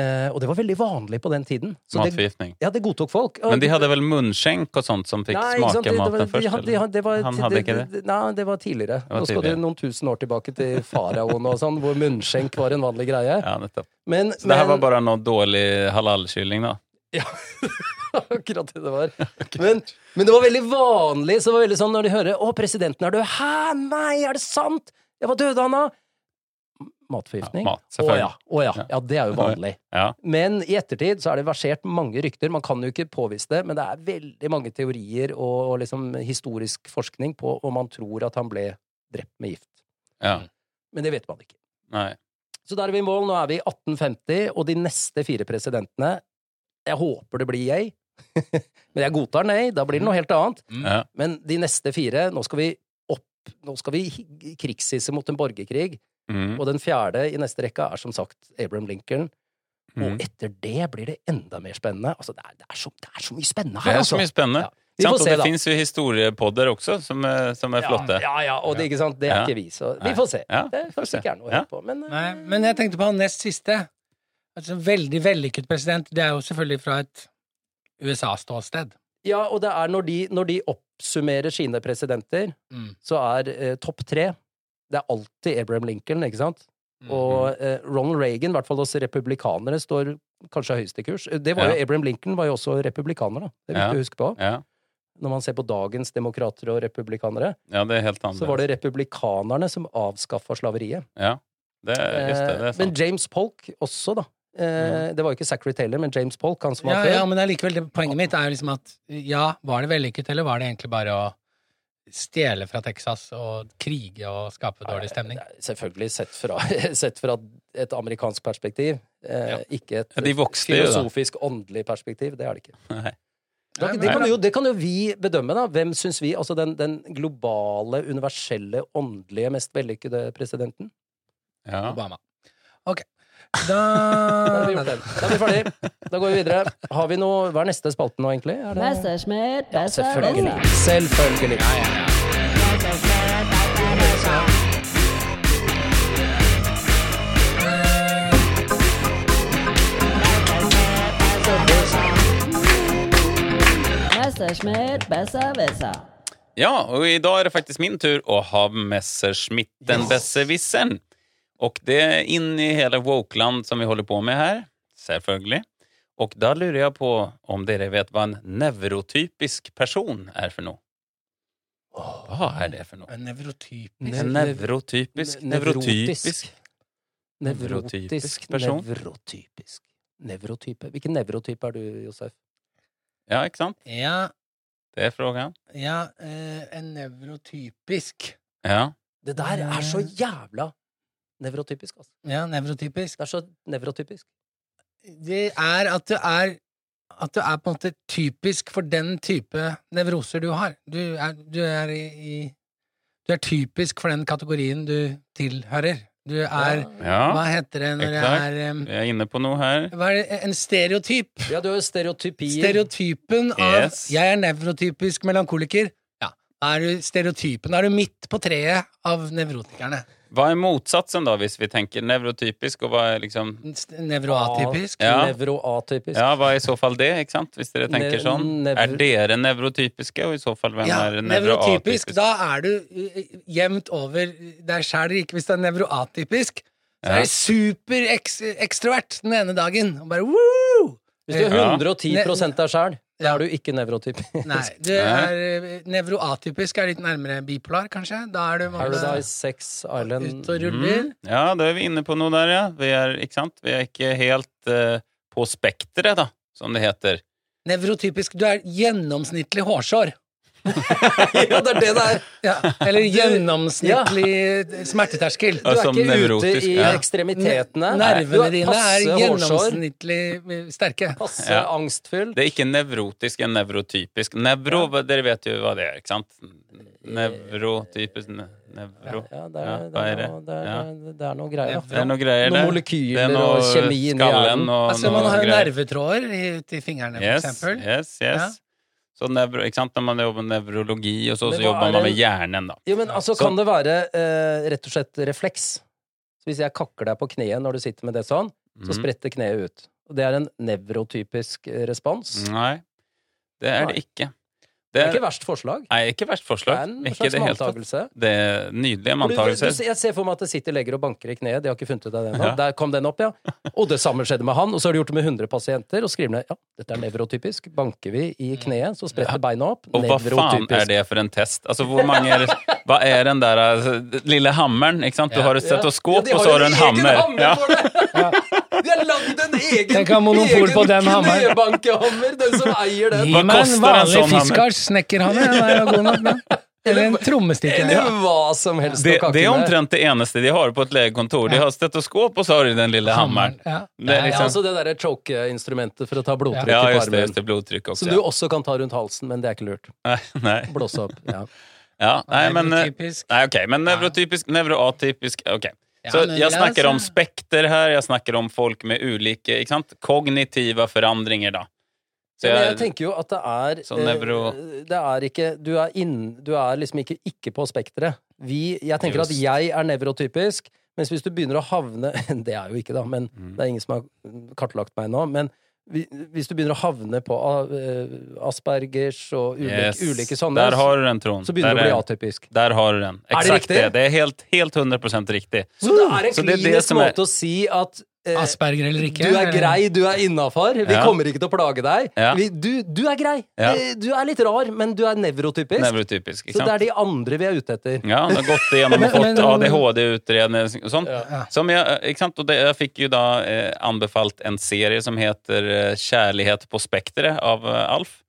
Speaker 3: Eh, og det var veldig vanlig på den tiden. Så det,
Speaker 2: Matforgiftning.
Speaker 3: ja, det godtok folk. Og-
Speaker 2: Men de hadde vel munnskjenk og sånt som fikk
Speaker 3: Nei, ikke sant,
Speaker 2: smake
Speaker 3: det- det var-
Speaker 2: maten
Speaker 3: de
Speaker 2: først?
Speaker 3: hadde- de
Speaker 2: eller?
Speaker 3: hadde- det var-
Speaker 2: Han hadde ikke det?
Speaker 3: Nei, det var tidligere.
Speaker 2: var
Speaker 3: Nå skal du
Speaker 2: tidligere.
Speaker 3: noen tusen år tilbake til faraoen og sånn, hvor munnskjenk var en vanlig greie.
Speaker 2: Ja, nettopp.
Speaker 3: Men,
Speaker 2: Så det her var
Speaker 3: men-
Speaker 2: bare noe dårlig halalkylling, da?
Speaker 3: Akkurat det det var. Men, men det var veldig vanlig. Så det var veldig sånn når de hører 'Å, presidenten er død'. 'Hæ, nei, er det sant?' Ja, hva døde han av?
Speaker 2: Ja,
Speaker 3: Matforgiftning.
Speaker 2: mat,
Speaker 3: å
Speaker 2: selvfølgelig.
Speaker 3: ja. Å ja. Ja, det er jo vanlig.
Speaker 2: Ja.
Speaker 3: Men i ettertid så er det versert mange rykter. Man kan jo ikke påvise det, men det er veldig mange teorier og, og liksom historisk forskning på om man tror at han ble drept med gift.
Speaker 2: ja.
Speaker 3: Mm. Men det vet man ikke.
Speaker 2: Nei.
Speaker 3: Så der er vi i mål. Nå er vi i 1850, og de neste fire presidentene Jeg håper det blir yay, men jeg godtar nei. Da blir det
Speaker 1: Mm.
Speaker 3: noe helt annet.
Speaker 2: Ja.
Speaker 3: Men de neste fire Nå skal vi opp. Nå skal vi hi- krigshisse mot en borgerkrig.
Speaker 2: Mm.
Speaker 3: Og den fjerde i neste rekka er som sagt Abraham Lincoln.
Speaker 2: Mm.
Speaker 3: Og etter det blir det enda mer spennende. Altså, det, er, det, er så, det er så mye spennende
Speaker 2: Det
Speaker 3: her,
Speaker 2: er så
Speaker 3: altså!
Speaker 2: mye spennende.
Speaker 3: Ja. Vi
Speaker 2: Sant,
Speaker 3: får
Speaker 2: og
Speaker 3: se,
Speaker 2: det
Speaker 3: da.
Speaker 2: fins jo historiepodder også, som er, som er flotte.
Speaker 3: Ja, ja, og det, ikke sant? det er
Speaker 2: Ja.
Speaker 3: ikke vi, så vi
Speaker 2: Nei.
Speaker 3: får se.
Speaker 2: Ja,
Speaker 3: Det
Speaker 2: får se.
Speaker 3: kanskje ikke er noe å
Speaker 2: Ja.
Speaker 3: høre på, men eh,
Speaker 1: Nei, men jeg tenkte på han nest siste. Altså, veldig vellykket president. Det er jo selvfølgelig fra et USA-ståsted.
Speaker 3: Ja, og det er når de, når de oppsummerer sine presidenter,
Speaker 1: Mm.
Speaker 3: så er eh, topp tre Det er alltid Abraham Lincoln, ikke sant?
Speaker 2: Mhm.
Speaker 3: Og eh, Ronald Reagan, i hvert fall hos republikanere, står kanskje høyest i kurs. Det var jo,
Speaker 2: Ja.
Speaker 3: Abraham Lincoln var jo også republikaner, da. Det er
Speaker 2: Ja.
Speaker 3: viktig å huske på.
Speaker 2: Ja.
Speaker 3: Når man ser på dagens demokrater og republikanere,
Speaker 2: ja, det er helt annerledes.
Speaker 3: så var det republikanerne som avskaffa slaveriet.
Speaker 2: Ja, det, er- just det, det er
Speaker 3: Eh, Men
Speaker 2: sant. Mhm.
Speaker 3: James Polk også, da. Eh, Det var jo ikke Zachary Taylor, men James Polk, han som
Speaker 1: Ja,
Speaker 3: var før.
Speaker 1: ja, men allikevel, det- poenget mitt er jo liksom at ja, var det vellykket, eller var det egentlig bare å stjele fra Texas og krige og skape dårlig stemning?
Speaker 3: Det er Selvfølgelig sett fra, sett fra et amerikansk perspektiv. Eh, Ikke et
Speaker 2: Ja, de vokste jo, da.
Speaker 3: filosofisk, åndelig perspektiv. Det er det ikke.
Speaker 2: Nei.
Speaker 3: Det,
Speaker 1: Nei,
Speaker 3: det,
Speaker 1: men-
Speaker 3: kan jo, det kan jo vi bedømme, da. Hvem syns vi Altså den, den globale, universelle, åndelige, mest vellykkede presidenten?
Speaker 2: Ja.
Speaker 1: Obama. Ok. Da
Speaker 3: Da har vi gjort den. Da er vi ferdig. Da går vi videre. Har vi noe Hva er neste spalten nå, egentlig? Er det
Speaker 5: Messerschmidt,
Speaker 3: ja, selvfølgelig.
Speaker 5: Messerschmidt.
Speaker 3: Selvfølgelig.
Speaker 5: Messerschmidt, Besserwisser.
Speaker 2: Ja, och idag är det faktiskt min tur att ha Messerschmitt, den besserwissern. Och det är in i hela wokeland som vi håller på med här, självklart. Och där lurar jag på om dere vet vad en neurotypisk person är för något. Vad är det för något?
Speaker 1: En Nevrotyp.
Speaker 2: En neurotypisk, neurotypisk. Nevrotypisk
Speaker 3: Nevrotisk.
Speaker 2: person.
Speaker 3: Nevrotypisk. Nevrotype. Hvilken nevrotype er du, Josef?
Speaker 2: Ja, exakt.
Speaker 1: Ja,
Speaker 2: Det är frågan.
Speaker 1: ja, eh, en nevrotypisk.
Speaker 2: Ja.
Speaker 3: Det der er
Speaker 1: Eh.
Speaker 3: så jævla nevrotypisk, altså.
Speaker 1: Ja, nevrotypisk.
Speaker 3: Det er så nevrotypisk.
Speaker 1: det er at du er at du er på en måte typisk for den type nevroser du har. Du er, du er i, i Du er typisk for den kategorien du tilhører. Du er
Speaker 2: Ja,
Speaker 1: Hva heter det når det
Speaker 2: Exakt.
Speaker 1: er em,
Speaker 2: jag är inne på noe här.
Speaker 1: hva er det, En stereotyp.
Speaker 3: Ja, du har jo stereotypier.
Speaker 1: Stereotypen av
Speaker 2: Yes.
Speaker 1: 'jeg er nevrotypisk melankoliker'. Ja, da er du stereotypen. Da er du midt på treet av nevrotikerne.
Speaker 2: Vad är motsatsen då, hvis vi tänker neurotypisk och vad är liksom
Speaker 1: St- Nevroatypisk.
Speaker 2: Ja.
Speaker 3: Nevroatypisk.
Speaker 2: Ja, hva er i så fall det, ikke sant? Hvis dere tenker
Speaker 3: Ne-
Speaker 2: sånn.
Speaker 3: nevro-
Speaker 2: Er dere nevrotypiske, og i så fall hvem
Speaker 1: Ja,
Speaker 2: er nevroatypisk?
Speaker 1: nevrotypisk. Da er du eh, jevnt over deg sjæl, ikke hvis du er nevroatypisk. Så
Speaker 2: Ja.
Speaker 1: er du superekstrovert den ene dagen. Og bare woo!
Speaker 3: Hvis du er
Speaker 2: Ja.
Speaker 3: 110 deg sjæl, da er du ikke nevrotypisk.
Speaker 1: Nei, du er eh, nevroatypisk er litt nærmere bipolar, kanskje. Da er du
Speaker 3: Paradise, Sex Island
Speaker 1: ute og ruller.
Speaker 2: Mm. Ja, da er vi inne på noe der, ja. Vi er ikke, sant? Vi er ikke helt eh, på spekteret, da, som det heter.
Speaker 1: Nevrotypisk. Du er gjennomsnittlig hårsår.
Speaker 3: Ja, det er det det er!
Speaker 1: Ja, eller gjennomsnittlig smerteterskel.
Speaker 3: Du er
Speaker 2: Som
Speaker 3: ikke ute
Speaker 2: nevrotisk,
Speaker 3: i
Speaker 2: ja.
Speaker 3: ekstremitetene. Du
Speaker 1: Nervene dine er
Speaker 3: passe hårsår,
Speaker 1: gjennomsnittlig eh, sterke.
Speaker 3: Passe
Speaker 2: Ja.
Speaker 3: angstfull.
Speaker 2: Det er ikke nevrotisk enn nevrotypisk. Nevro, dere vet jo hva det er, ikke sant? Nevrotypisk ne Nevro.
Speaker 3: Ja, det
Speaker 2: Ja,
Speaker 3: er, det
Speaker 2: hva er
Speaker 3: er,
Speaker 2: det?
Speaker 3: noe- det er,
Speaker 2: Ja.
Speaker 3: det er noe greier.
Speaker 2: Det er noen greier, det.
Speaker 3: Noen molekyler
Speaker 2: Det er noe
Speaker 3: og kjemi inni
Speaker 2: skallen
Speaker 3: hjernen.
Speaker 2: og
Speaker 1: Altså, man har jo
Speaker 2: greier.
Speaker 1: nervetråder i- uti fingrene, for
Speaker 2: Yes,
Speaker 1: eksempel.
Speaker 2: yes, yes.
Speaker 1: Ja.
Speaker 2: Så nevro, ikke sant? Når man jobber med nevrologi og så, så
Speaker 3: Men hva er
Speaker 2: jobber man
Speaker 3: det-
Speaker 2: med hjernen, da.
Speaker 3: Jo, men altså,
Speaker 2: Så-
Speaker 3: kan det være eh, rett og slett refleks? Så hvis jeg kakker deg på kneet når du sitter med det sånn, så
Speaker 2: Mhm.
Speaker 3: spretter kneet ut. Og det er en nevrotypisk eh, respons.
Speaker 2: Nei, Mm. det er det ikke. Det
Speaker 3: Det er
Speaker 2: er
Speaker 3: ikke verst forslag.
Speaker 2: nei, ikke verst forslag.
Speaker 3: Det er en
Speaker 2: Ikke i det
Speaker 3: slags
Speaker 2: hele tatt.
Speaker 3: manntagelse.
Speaker 2: Det er nydelige
Speaker 3: Du, du, du,
Speaker 2: manntagelser.
Speaker 3: jeg ser for meg at det sitter leger og banker i kneet. De har ikke funnet ut av det ennå. Der kom den opp, ja. Og det samme skjedde med han. Og så har de gjort det med 100 pasienter og skriver ned ja, dette er nevrotypisk. Banker vi i kneet, så spretter beina opp.
Speaker 2: Mm. Og hva faen er det for en test? Altså, hvor mange er, Hva er den der altså, lille hammeren? Ikke sant? Du har et stetoskop, og så har du en hammer. Ja.
Speaker 3: De har lagd en egen,
Speaker 1: Tenk å ha monopol på den hammeren.
Speaker 3: knebankehammer! Den som eier den.
Speaker 1: Gi
Speaker 2: Hva
Speaker 1: meg en
Speaker 2: koster en
Speaker 1: vanlig
Speaker 2: sånn hammer?
Speaker 1: fiskars snekkerhanne. Den er jo god nok, den. Eller en trommestikker.
Speaker 3: Eller hva som helst.
Speaker 2: Det,
Speaker 3: av
Speaker 2: det er
Speaker 3: kakene.
Speaker 2: omtrent det eneste de har på et legekontor. De har stetoskop, og så har de den lille hammeren.
Speaker 1: Ja.
Speaker 2: Det er
Speaker 3: Ja,
Speaker 2: liksom,
Speaker 3: altså det derre choke-instrumentet for å ta blodtrykk
Speaker 2: ja,
Speaker 3: i
Speaker 2: just det.
Speaker 3: armen.
Speaker 2: Just det blodtrykk også.
Speaker 3: Som du
Speaker 2: Ja.
Speaker 3: også kan ta rundt halsen, men det er ikke lurt.
Speaker 2: Nei, nei.
Speaker 3: Blåse opp. Ja.
Speaker 2: Ja, nei, men eh,
Speaker 1: Nevrotypisk.
Speaker 2: Nei, ok, men nevrotypisk, nevroatypisk Ok. Så
Speaker 1: Ja, men
Speaker 2: jeg
Speaker 1: la
Speaker 2: snakker om
Speaker 1: oss-
Speaker 2: spekter her, jeg snakker om folk med ulike ikke sant? kognitive forandringer, da. Så
Speaker 3: Men jeg
Speaker 2: jeg,
Speaker 3: tenker jo at det er
Speaker 2: Så Sånn nevro-
Speaker 3: eh, Det er ikke Du er, inn, du er liksom ikke, ikke på spekteret. Vi Jeg tenker at
Speaker 2: Just.
Speaker 3: jeg er nevrotypisk, mens hvis du begynner å havne Det er jo ikke, da, men
Speaker 2: Mm.
Speaker 3: det er ingen som har kartlagt meg nå. Men vi- hvis du begynner å havne på eh, aspergers og ulike,
Speaker 2: Yes.
Speaker 3: ulike sånne,
Speaker 2: Der har du den, Trond.
Speaker 3: så begynner du
Speaker 2: Der
Speaker 3: å bli
Speaker 2: er-
Speaker 3: atypisk.
Speaker 2: Der har du den. Exakt
Speaker 3: riktig?
Speaker 2: det. Det er helt, helt 100 riktig.
Speaker 3: Så det er en
Speaker 2: Så det er det
Speaker 3: klinisk
Speaker 2: som er-
Speaker 3: måte å si at eh,
Speaker 1: Asperger eller ikke.
Speaker 3: Du er grei, du er innafor. Vi
Speaker 2: Ja.
Speaker 3: kommer ikke til å plage deg.
Speaker 2: Ja.
Speaker 3: Vi, du, du er grei.
Speaker 2: Ja.
Speaker 3: Eh, Du er litt rar, men du er nevrotypisk.
Speaker 2: Nevrotypisk.
Speaker 3: så
Speaker 2: Ikke
Speaker 3: det
Speaker 2: sant?
Speaker 3: er de andre vi er ute etter.
Speaker 2: Ja, han har gått igjennom og
Speaker 1: Men-
Speaker 2: fått
Speaker 1: men-
Speaker 2: ADHD-utredning og sånn.
Speaker 1: Ja.
Speaker 2: Som jeg, eh, ikke sant? Og det, jeg fikk jo da eh, anbefalt en serie som heter eh, 'Kjærlighet på spekteret' av eh, Alf.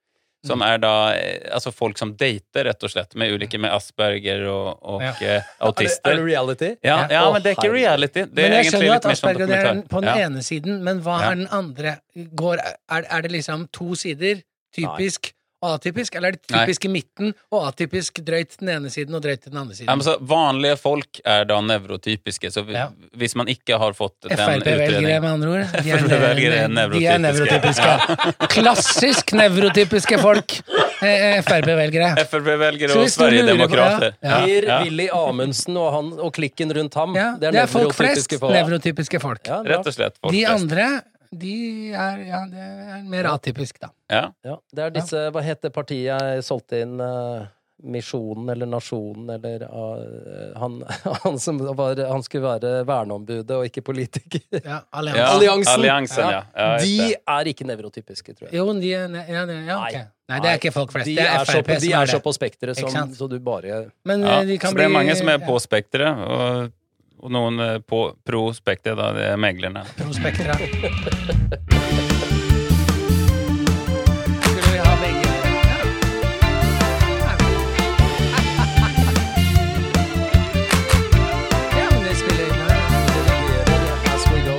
Speaker 2: Som
Speaker 1: Mm.
Speaker 2: er da eh, altså folk som dater, rett og slett, med ulike med Asperger og, og
Speaker 1: Ja.
Speaker 2: eh,
Speaker 3: Er det, er det
Speaker 2: autister.
Speaker 3: reality?
Speaker 2: Ja,
Speaker 1: Ja.
Speaker 2: ja,
Speaker 3: Å,
Speaker 2: men det er ikke
Speaker 3: herregud.
Speaker 2: reality. Det
Speaker 1: Men
Speaker 2: er
Speaker 1: jeg skjønner
Speaker 2: egentlig
Speaker 1: jo
Speaker 2: litt
Speaker 1: at
Speaker 2: mer som
Speaker 1: Asperger det er den-
Speaker 2: dokumentar.
Speaker 1: på den
Speaker 2: Ja.
Speaker 1: ene siden, men hva
Speaker 2: Ja.
Speaker 1: er den andre? Går, er, er det liksom to sider? Typisk og atypisk? Eller er det
Speaker 2: Nei.
Speaker 1: typisk i midten og atypisk drøyt den ene siden og drøyt den andre
Speaker 2: Ja, men
Speaker 1: siden?
Speaker 2: så vanlige folk er da nevrotypiske, så vi,
Speaker 1: Ja.
Speaker 2: hvis man ikke har fått den
Speaker 1: Frp-velgere,
Speaker 2: utredningen
Speaker 1: med andre ord. De er,
Speaker 2: FrP-velgere er
Speaker 1: ne- de er
Speaker 2: nevrotypiske.
Speaker 1: nevrotypiske. Klassisk nevrotypiske folk! eh, eh, Frp-velgere.
Speaker 2: Frp-velgere
Speaker 1: Så
Speaker 2: og
Speaker 1: hvis du lurer på-
Speaker 2: Sverigedemokrater.
Speaker 1: Ja.
Speaker 3: Per
Speaker 2: Ja.
Speaker 3: Willy Amundsen og, han, og klikken rundt ham.
Speaker 1: Ja, det er folk flest.
Speaker 3: nevrotypiske
Speaker 1: Nevrotypiske folk.
Speaker 3: Ja, bra.
Speaker 2: Rett og slett. folk
Speaker 1: De
Speaker 2: flest.
Speaker 1: andre, de er, ja, det er mer atypisk, da.
Speaker 2: Ja.
Speaker 3: Ja, det er disse Hva het det partiet jeg solgte inn? eh, Misjonen eller Nasjonen eller eh, han, han som var Han skulle være verneombudet og ikke politiker.
Speaker 1: Ja,
Speaker 2: Ja,
Speaker 1: alliansen.
Speaker 3: Alliansen.
Speaker 2: Alliansen, ja. Ja, just
Speaker 3: De
Speaker 2: det.
Speaker 3: er ikke nevrotypiske, tror jeg.
Speaker 1: Jo, de er, ne- ja, det- ja, ok.
Speaker 3: Nei.
Speaker 1: Nei, det er ikke folk flest.
Speaker 3: De
Speaker 1: Det er
Speaker 3: så
Speaker 1: Frp
Speaker 3: på, de
Speaker 1: som
Speaker 3: er
Speaker 1: er
Speaker 3: så
Speaker 1: det.
Speaker 3: på spekteret,
Speaker 1: Ikke
Speaker 3: som,
Speaker 1: sant?
Speaker 3: så du bare
Speaker 1: Men
Speaker 2: ja.
Speaker 1: eh, de kan
Speaker 2: Så det er
Speaker 1: bli-
Speaker 2: mange som er på
Speaker 1: ja,
Speaker 2: spekteret, og, og noen eh, på pro spekteret, da, det er meglerne.
Speaker 1: prospektra. Skulle vi ha begge? Ja. Ja, men det spiller ingen rolle.
Speaker 3: As we go.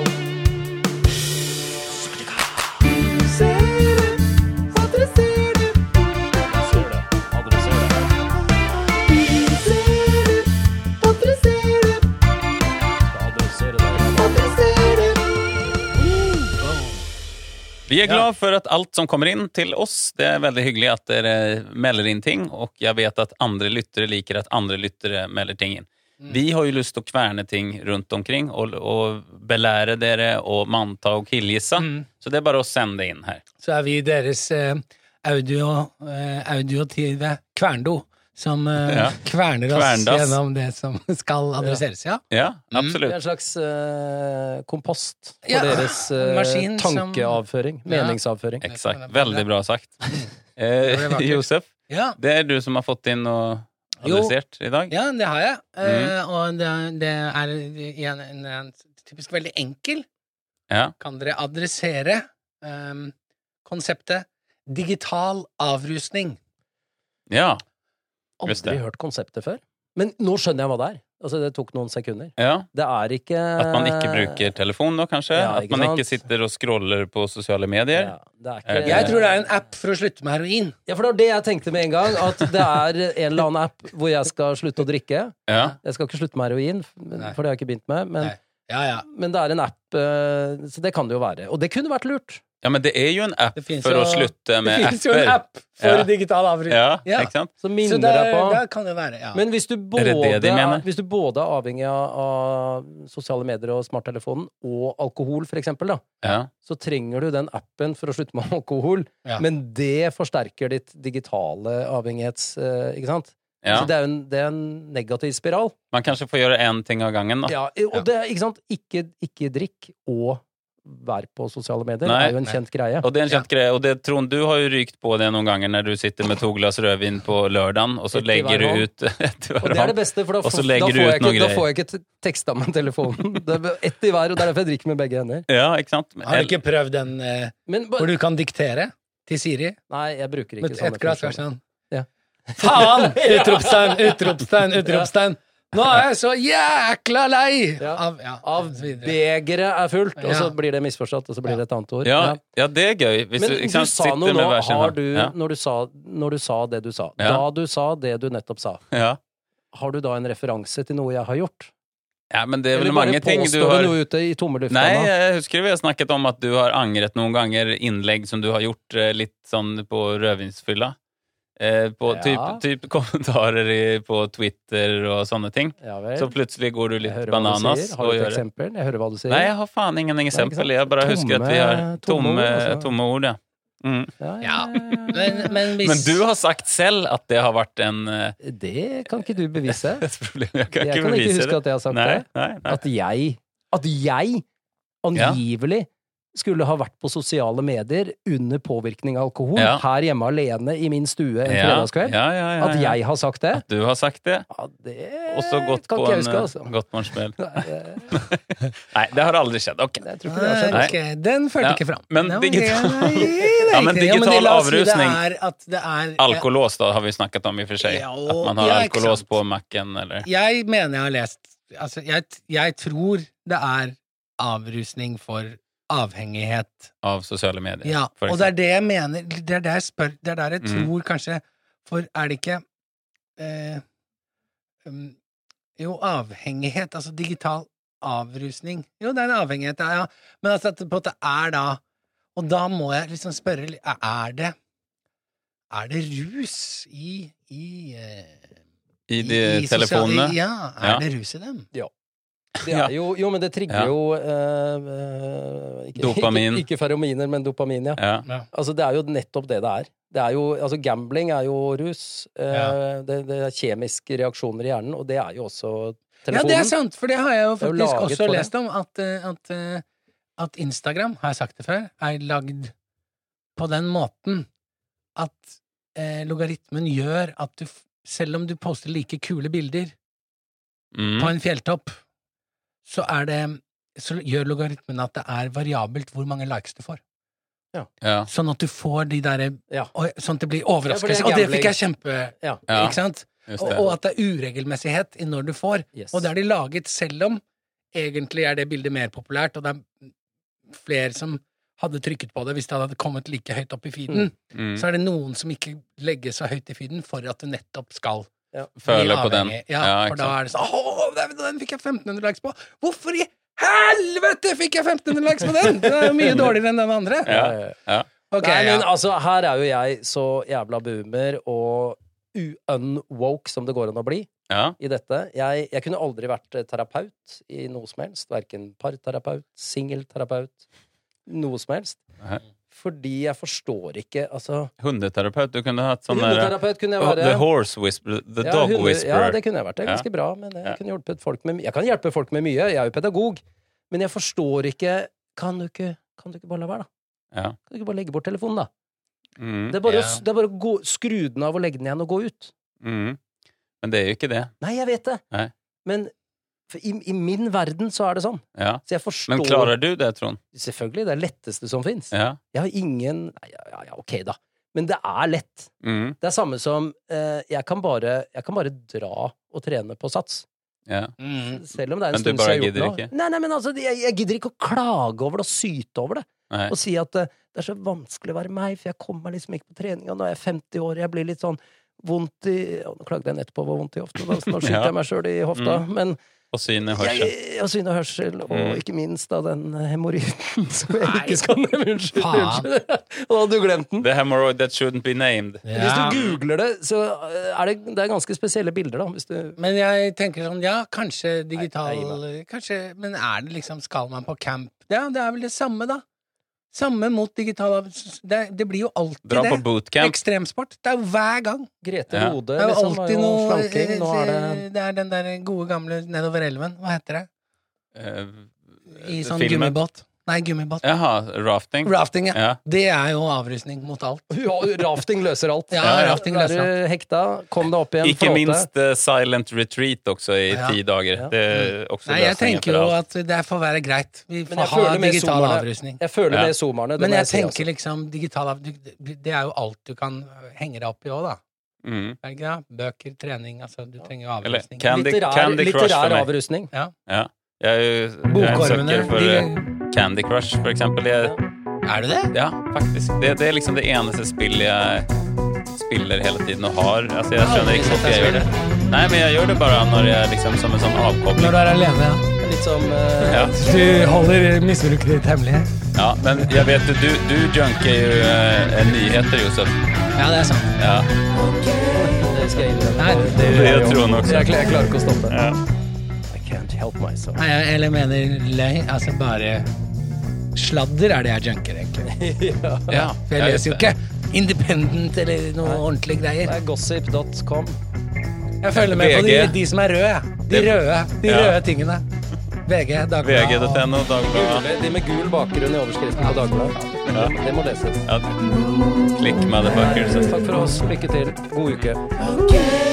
Speaker 2: Vi er glad for at alt som kommer inn til oss, det er veldig hyggelig at dere melder inn ting, og jeg vet at andre lyttere liker at andre lyttere melder ting inn.
Speaker 1: Mm.
Speaker 2: Vi har jo lyst til å kverne ting rundt omkring og, og belære dere og manta og killgissa,
Speaker 1: Mm.
Speaker 2: så det er bare å sende inn her.
Speaker 1: Så er vi deres eh, audio, eh, audiotive kverndo, som eh,
Speaker 2: Ja.
Speaker 1: kverner oss
Speaker 2: Kverndass.
Speaker 1: gjennom det som skal adresseres, Mm. ja.
Speaker 2: Ja,
Speaker 3: Det er
Speaker 2: absolutt.
Speaker 3: en slags eh, kompost for
Speaker 1: Ja,
Speaker 3: deres eh,
Speaker 1: maskin som-
Speaker 3: tankeavføring.
Speaker 1: Ja.
Speaker 3: Meningsavføring.
Speaker 2: Exakt. Veldig bra sagt. Eh,
Speaker 1: Det var vakkert.
Speaker 2: Josef,
Speaker 1: ja.
Speaker 2: det er du som har fått inn og
Speaker 1: Jo.
Speaker 2: adressert i dag.
Speaker 1: Ja, det har jeg. Eh, og det, det er igjen en, en typisk veldig enkel.
Speaker 2: Ja.
Speaker 1: Kan dere adressere ehm, konseptet digital avrusning?
Speaker 2: ja. Just
Speaker 3: Aldri
Speaker 2: det.
Speaker 3: hørt konseptet før. Men nå skjønner jeg hva det er. Altså, det tok noen sekunder.
Speaker 2: ja.
Speaker 3: Det er ikke
Speaker 2: At man ikke bruker telefon da, kanskje?
Speaker 3: Eh, Ja,
Speaker 2: At
Speaker 3: ikke
Speaker 2: man ikke
Speaker 3: sant?
Speaker 2: sitter og scroller på sosiale medier?
Speaker 3: ja, det er
Speaker 2: Er
Speaker 3: ikke
Speaker 2: det-
Speaker 1: Jeg tror det er en app for å slutte med heroin.
Speaker 3: Ja, for det var det jeg tenkte med en gang. At det er en eller annen app hvor jeg skal slutte å drikke.
Speaker 2: Ja.
Speaker 3: Jeg skal ikke slutte med heroin, men-
Speaker 1: Nei.
Speaker 3: for det har jeg ikke begynt med. Men,
Speaker 1: Nei. Ja, ja.
Speaker 3: men det er en app, eh, så det kan det jo være. Og det kunne vært lurt.
Speaker 2: Ja, men det är ju en app
Speaker 1: Det finns
Speaker 2: för
Speaker 1: ju-
Speaker 2: att sluta med
Speaker 3: det finnes jo en
Speaker 2: apper.
Speaker 3: app for
Speaker 2: Ja.
Speaker 3: digital avbruk
Speaker 2: Ja,
Speaker 1: Ja.
Speaker 2: exakt.
Speaker 3: som
Speaker 1: Så
Speaker 3: minner
Speaker 1: der,
Speaker 3: deg på
Speaker 1: der kan det være, ja.
Speaker 3: Men hvis du, både,
Speaker 2: det det de mener?
Speaker 3: hvis du både er avhengig av, av sosiale medier og smarttelefonen, og alkohol, for eksempel, da,
Speaker 2: Ja.
Speaker 3: så trenger du den appen for å slutte med alkohol.
Speaker 1: Ja.
Speaker 3: Men det forsterker ditt digitale avhengighets... eh, ikke sant? Så
Speaker 2: Ja.
Speaker 3: det er jo en, det er en negativ spiral.
Speaker 2: Man kanskje får gjøre en ting av gangen. Da.
Speaker 3: Ja, og det er, ikke sant? Ikke, ikke drikk og vær på sosiale medier.
Speaker 2: Nei.
Speaker 3: det er jo en
Speaker 1: Nei.
Speaker 3: kjent greie.
Speaker 2: Og det er en kjent greie, og det Trond, du har jo rykt på det noen ganger når du sitter med to glass rødvin på lørdagen, og så
Speaker 3: Ett i
Speaker 2: legger
Speaker 3: hver
Speaker 2: du
Speaker 3: hånd.
Speaker 2: ut ett i
Speaker 3: Og
Speaker 2: hver
Speaker 3: det er det
Speaker 2: hånd.
Speaker 3: beste, for da,
Speaker 2: Og så
Speaker 3: får- da,
Speaker 2: legger
Speaker 3: får,
Speaker 2: du ut
Speaker 3: jeg ikke,
Speaker 2: noen
Speaker 3: da
Speaker 2: greier.
Speaker 3: får jeg ikke teksta med telefonen. Det er Ett i hver, og det er derfor jeg drikker med begge hender.
Speaker 2: Ja, ikke sant?
Speaker 1: har du ikke prøvd den eh,
Speaker 3: Men,
Speaker 1: hvor du kan diktere til Siri
Speaker 3: nei, jeg bruker ikke
Speaker 1: med
Speaker 3: sånne
Speaker 1: et glass hver
Speaker 3: funksjoner.
Speaker 1: sånn?
Speaker 3: Ja.
Speaker 1: Faen! Utropstegn, utropstegn, utropstegn! Nå er jeg så jækla lei
Speaker 3: Ja.
Speaker 1: av ja,
Speaker 3: Av
Speaker 1: og så videre.
Speaker 3: begeret er fullt, og så
Speaker 1: Ja.
Speaker 3: blir det misforstått, og så blir det et annet ord.
Speaker 2: Ja,
Speaker 3: Ja.
Speaker 2: ja, det er gøy. Hvis
Speaker 3: Men
Speaker 2: du,
Speaker 3: du
Speaker 2: ikke sant,
Speaker 3: sa
Speaker 2: sitter
Speaker 3: noe
Speaker 2: med
Speaker 3: nå,
Speaker 2: hver sin
Speaker 3: har
Speaker 2: hånd.
Speaker 3: du,
Speaker 2: Ja.
Speaker 3: når, du sa, når du sa det du sa.
Speaker 2: Ja.
Speaker 3: Da du sa det du nettopp sa,
Speaker 2: Ja.
Speaker 3: har du da en referanse til noe jeg har gjort?
Speaker 2: ja, men det er vel
Speaker 3: Eller bare
Speaker 2: mange ting du
Speaker 3: påstår
Speaker 2: har
Speaker 3: noe ute i tomme lufta?
Speaker 2: Nei,
Speaker 3: nå?
Speaker 2: jeg husker vi har snakket om at du har angret noen ganger innlegg som du har gjort eh, litt sånn på rødvinsfylla. Eh, på
Speaker 3: Ja.
Speaker 2: typ, typ kommentarer i, på Twitter og sånne ting.
Speaker 3: ja vel.
Speaker 2: Så plutselig går du
Speaker 3: Jeg
Speaker 2: litt
Speaker 3: hører hva du
Speaker 2: bananas
Speaker 3: sier. Har
Speaker 2: og
Speaker 3: du et
Speaker 2: gjør det.
Speaker 3: eksempel? Jeg hører hva du sier.
Speaker 2: Nei, jeg har faen ingen
Speaker 3: sant?
Speaker 2: eksempel. Jeg bare husker at vi har
Speaker 3: Tomme- tomme
Speaker 2: tomme,
Speaker 3: ord, altså.
Speaker 2: tomme ord, ja. Mm.
Speaker 3: Ja,
Speaker 1: Ja. Men, men hvis
Speaker 2: Men du har sagt selv at det har vært en, eh,
Speaker 3: Det kan ikke du bevise.
Speaker 2: et problem. Jeg kan
Speaker 3: Jeg
Speaker 2: ikke
Speaker 3: kan ikke
Speaker 2: bevise
Speaker 3: huske
Speaker 2: det.
Speaker 3: at jeg har sagt
Speaker 2: Nei,
Speaker 3: det.
Speaker 2: nei, nei.
Speaker 3: At jeg, at jeg angivelig skulle ha vært på sosiale medier under påvirkning av alkohol
Speaker 2: Ja.
Speaker 3: her hjemme alene i min stue en
Speaker 2: Ja,
Speaker 3: fredagskveld.
Speaker 2: ja, ja, ja,
Speaker 3: At
Speaker 2: ja.
Speaker 3: jeg har sagt det.
Speaker 2: Du har sagt det,
Speaker 3: Ja, det
Speaker 2: og så gått
Speaker 3: kan
Speaker 2: på
Speaker 3: ikke
Speaker 2: en
Speaker 3: jeg huske,
Speaker 2: eh,
Speaker 3: altså.
Speaker 2: gått på en smell.
Speaker 3: Nei, jeg-
Speaker 2: Nei, det har aldri skjedd. Ok.
Speaker 3: jeg tror ikke det har skjedd.
Speaker 1: Nei, ok, Den førte
Speaker 2: Ja,
Speaker 1: ikke fram.
Speaker 2: men
Speaker 1: Nei,
Speaker 2: digital-
Speaker 1: det- nei, det er
Speaker 2: Ja, men
Speaker 1: riktig. Ja,
Speaker 2: digital
Speaker 1: det- la oss si
Speaker 2: avrusning.
Speaker 1: Det er at det er
Speaker 2: Alkolås da, har vi snakket om i og for seg.
Speaker 1: Ja,
Speaker 2: At man har
Speaker 1: ja, ikke
Speaker 2: alkolås
Speaker 1: sant.
Speaker 2: på Mac-en, eller
Speaker 1: Jeg mener jeg har lest Altså, jeg, jeg tror det er avrusning for avhengighet.
Speaker 2: av sosiale medier.
Speaker 1: Ja,
Speaker 2: for
Speaker 1: og det er det jeg mener Det er der jeg spør Det er der jeg
Speaker 2: Mm.
Speaker 1: tror kanskje For er det ikke eh, um, Jo, avhengighet Altså digital avrusning Jo, det er en avhengighet, ja, ja. Men altså at det på en måte er da Og da må jeg liksom spørre li- Er det Er det rus i I, eh,
Speaker 2: I
Speaker 1: i-
Speaker 2: de
Speaker 1: i sosial-
Speaker 2: telefonene.
Speaker 1: i- Ja, er
Speaker 2: Ja.
Speaker 1: det rus i dem?
Speaker 3: Det
Speaker 2: Ja.
Speaker 3: er jo, jo, men det trigger
Speaker 2: Ja.
Speaker 3: jo eh, eh, ikke,
Speaker 2: Dopamin.
Speaker 3: Ikke, ikke ferominer, men dopamin, ja.
Speaker 2: Ja.
Speaker 3: Altså, det er jo nettopp det det er. Det er jo, altså, gambling er jo rus. eh,
Speaker 1: Ja.
Speaker 3: det, det er kjemiske reaksjoner i hjernen, og det er jo også
Speaker 1: Ja, det
Speaker 3: telefonen.
Speaker 1: er sant, for det har jeg
Speaker 3: er
Speaker 1: jo
Speaker 3: jo
Speaker 1: faktisk
Speaker 3: laget
Speaker 1: også
Speaker 3: for det.
Speaker 1: lest om, at, eh, at, eh, at Instagram, har jeg sagt det før, er lagd på den måten at eh, logaritmen gjør at du, f- selv om du poster like kule bilder på
Speaker 2: Mm.
Speaker 1: en fjelltopp, så er det så gjør logaritmen at det er variabelt hvor mange likes du får.
Speaker 2: ja.
Speaker 1: Sånn at du får de derre
Speaker 3: Ja.
Speaker 1: og- Sånn at det blir
Speaker 3: Ja,
Speaker 1: overraskelse.
Speaker 3: for
Speaker 1: og
Speaker 3: det er
Speaker 1: det fikk jeg kjempe...
Speaker 3: Ja.
Speaker 2: Ja,
Speaker 1: Ikke sant?
Speaker 2: just
Speaker 1: Og,
Speaker 2: det.
Speaker 1: og at det er uregelmessighet i når du får.
Speaker 3: Yes.
Speaker 1: Og det er de laget selv om egentlig er det bildet mer populært, og det er flere som hadde trykket på det hvis det hadde kommet like høyt opp i feeden.
Speaker 2: Mm.
Speaker 1: Så er det noen som ikke legger så høyt i feeden for at du nettopp skal
Speaker 2: Føle på den.
Speaker 1: Ja,
Speaker 2: Ja,
Speaker 1: for
Speaker 2: ikke
Speaker 1: da
Speaker 2: sant.
Speaker 1: er det sånn Å, den, den fikk jeg 1500 likes på! Hvorfor i helvete fikk jeg 1500 likes på den?! Den er jo mye dårligere enn den andre!
Speaker 2: Ja,
Speaker 3: ja, ja.
Speaker 2: ja.
Speaker 1: Ok,
Speaker 3: Nei, men
Speaker 1: ja.
Speaker 3: altså, her er jo jeg så jævla boomer og u- unwoke som det går an å bli
Speaker 2: ja.
Speaker 3: i dette. Jeg, jeg kunne aldri vært eh, terapeut i noe som helst. Verken parterapeut, singelterapeut, noe som helst.
Speaker 2: Nei.
Speaker 3: Fordi jeg forstår ikke, altså
Speaker 2: Hundeterapeut. Du kunne hatt sånn der
Speaker 3: Hundeterapeut kunne jeg
Speaker 2: Oh,
Speaker 3: være.
Speaker 2: The horse whisperer. The
Speaker 3: Ja,
Speaker 2: dog
Speaker 3: hunde-
Speaker 2: whisperer.
Speaker 3: Ja, det kunne jeg vært. Det er
Speaker 2: Ja.
Speaker 3: ganske bra, men jeg
Speaker 2: Ja.
Speaker 3: kunne hjulpet folk med my- Jeg kan hjelpe folk med mye, jeg er jo pedagog, men jeg forstår ikke Kan du ikke, kan du ikke bare la være, da?
Speaker 2: Ja.
Speaker 3: Kan du ikke bare legge bort telefonen, da?
Speaker 2: Mm.
Speaker 3: Det er bare,
Speaker 1: Ja.
Speaker 3: å, det er bare å gå, skru den av og legge den igjen og gå ut.
Speaker 2: Mm. Men det er jo ikke det.
Speaker 3: Nei, jeg vet det.
Speaker 2: Nei.
Speaker 3: Men for i, i min verden så er det sånn.
Speaker 2: Ja.
Speaker 3: Så jeg forstår
Speaker 2: Men klarer du det, Trond?
Speaker 3: Selvfølgelig. Det er det letteste som fins.
Speaker 2: Ja.
Speaker 3: Jeg har ingen Nei, ja, ja, ja, ok, da. Men det er lett.
Speaker 2: Mm.
Speaker 3: Det er samme som eh, jeg, kan bare, jeg kan bare dra og trene på sats.
Speaker 2: ja.
Speaker 1: Mm.
Speaker 3: Selv om det er en
Speaker 2: Men du
Speaker 3: stund
Speaker 2: bare
Speaker 3: siden jeg har
Speaker 2: gidder
Speaker 3: gjort det.
Speaker 2: ikke?
Speaker 3: nå. Nei, nei, men altså, jeg, jeg gidder ikke å klage over det og syte over det.
Speaker 2: Nei.
Speaker 3: Og si at eh, det er så vanskelig å være meg, for jeg kommer meg liksom ikke på treninga. Nå er jeg 50 år, jeg blir litt sånn vondt i ja, Nå klagde jeg nettopp over vondt i hofta, da, så nå skyter
Speaker 2: Ja.
Speaker 3: jeg meg sjøl i hofta. Men
Speaker 2: Og syn i
Speaker 3: jeg,
Speaker 2: hørsel. Mm.
Speaker 3: jeg har syn og hørsel, og ikke minst da den hemoroiden som jeg ikke skal nevne. Unnskyld!
Speaker 1: Faen.
Speaker 3: unnskyld. Nå hadde du glemt den.
Speaker 2: The hemorrhoid that shouldn't be named.
Speaker 3: Hvis
Speaker 1: Ja.
Speaker 3: du googler det, så eh, er det, det er ganske spesielle bilder, da. Hvis du,
Speaker 1: Men jeg tenker sånn, ja, kanskje digital
Speaker 3: Nei,
Speaker 1: kanskje, Men er det liksom Skal man på camp? Ja, det er vel det samme, da. Samme mot digital Det, det blir jo alltid
Speaker 2: Dra på
Speaker 1: det.
Speaker 2: bootcamp.
Speaker 1: Ekstremsport. Det er jo hver gang.
Speaker 3: Grete
Speaker 2: Ja.
Speaker 3: Rode
Speaker 1: Det er jo
Speaker 3: liksom, var
Speaker 1: alltid
Speaker 3: jo
Speaker 1: noe eh,
Speaker 3: slanking. Nå er det
Speaker 1: Det er den der gode gamle nedover elven. Hva heter det?
Speaker 2: Eh,
Speaker 1: I
Speaker 2: eh,
Speaker 1: sånn
Speaker 2: filmen.
Speaker 1: gummibåt. Nei, gummibåt.
Speaker 2: Jaha, rafting.
Speaker 1: Rafting, ja.
Speaker 2: Ja.
Speaker 1: Det er jo avrusning mot alt.
Speaker 3: ja, Rafting løser alt.
Speaker 1: Ja, rafting
Speaker 3: Er
Speaker 1: løser
Speaker 3: du hekta, kom deg opp igjen.
Speaker 2: Ikke
Speaker 3: flate.
Speaker 2: minst eh, silent retreat også i
Speaker 1: Ja. Mm.
Speaker 2: ti dager.
Speaker 3: Ja.
Speaker 2: Det er også
Speaker 1: Nei, jeg
Speaker 2: løsningen
Speaker 1: tenker
Speaker 2: for
Speaker 1: jo
Speaker 2: alt.
Speaker 1: at det får være greit. Vi
Speaker 3: Men jeg
Speaker 1: får ha
Speaker 3: føler med
Speaker 1: digital
Speaker 3: zoomerne.
Speaker 1: avrusning.
Speaker 3: Jeg føler
Speaker 2: Ja.
Speaker 3: med zoomerne. det
Speaker 1: Men
Speaker 3: må
Speaker 1: jeg
Speaker 3: si, altså.
Speaker 1: tenker liksom digital av- du- Det er jo alt du kan øh, henge deg opp i òg, da.
Speaker 2: Mm.
Speaker 1: Er det ikke det? Bøker, trening, altså du trenger jo
Speaker 2: Eller
Speaker 1: avrusning.
Speaker 2: Candy,
Speaker 3: litterær,
Speaker 2: Candy Crush for
Speaker 3: litterær
Speaker 2: meg.
Speaker 3: avrusning.
Speaker 2: Ja. Jeg er jo jeg er en
Speaker 1: Bokormene.
Speaker 2: søkker for eh,
Speaker 1: de,
Speaker 2: Candy Crush, for eksempel. Jeg,
Speaker 1: er du det?
Speaker 2: ja, faktisk. Det, det er liksom det eneste spillet jeg spiller hele tiden og har. Altså, jeg skjønner ikke hvorfor jeg gjør det. Nei, men jeg gjør det bare når jeg liksom som en sånn
Speaker 1: Når
Speaker 2: avkobling.
Speaker 1: du er alene, ja.
Speaker 3: Litt som eh,
Speaker 2: Ja.
Speaker 1: Du holder misbruket ditt hemmelig?
Speaker 2: ja, men jeg vet du, du, du junker jo eh, nyheter, Josef.
Speaker 1: Ja, det er sant.
Speaker 2: Ja,
Speaker 3: Det skal jeg innrømme.
Speaker 1: Nei,
Speaker 3: Det gjør
Speaker 2: det
Speaker 3: jeg jo.
Speaker 2: tror han også.
Speaker 3: Jeg, klar- jeg klarer ikke å stoppe.
Speaker 2: Ja.
Speaker 3: I can't help myself.
Speaker 1: Nei, jeg- eller mener løgn. Altså bare Sladder er det jeg junker, egentlig.
Speaker 3: ja.
Speaker 2: Ja,
Speaker 1: For jeg leser jo ikke Independent eller noe ordentlige
Speaker 3: Det
Speaker 1: greier.
Speaker 3: er gossip.com.
Speaker 1: Jeg følger med på
Speaker 2: VG.
Speaker 1: de, de som er røde, jeg. De
Speaker 2: Det-
Speaker 1: røde, de
Speaker 2: Ja.
Speaker 1: røde tingene. VG, Dagbladet og-
Speaker 2: VG.no, Dagbladet.
Speaker 3: De med gul bakgrunn i overskriften på Dagbladet.
Speaker 2: Ja.
Speaker 3: Det må leses.
Speaker 2: Ja. Klikk, motherfuckers.
Speaker 3: Takk for oss. Lykke til. God uke.
Speaker 5: Okay.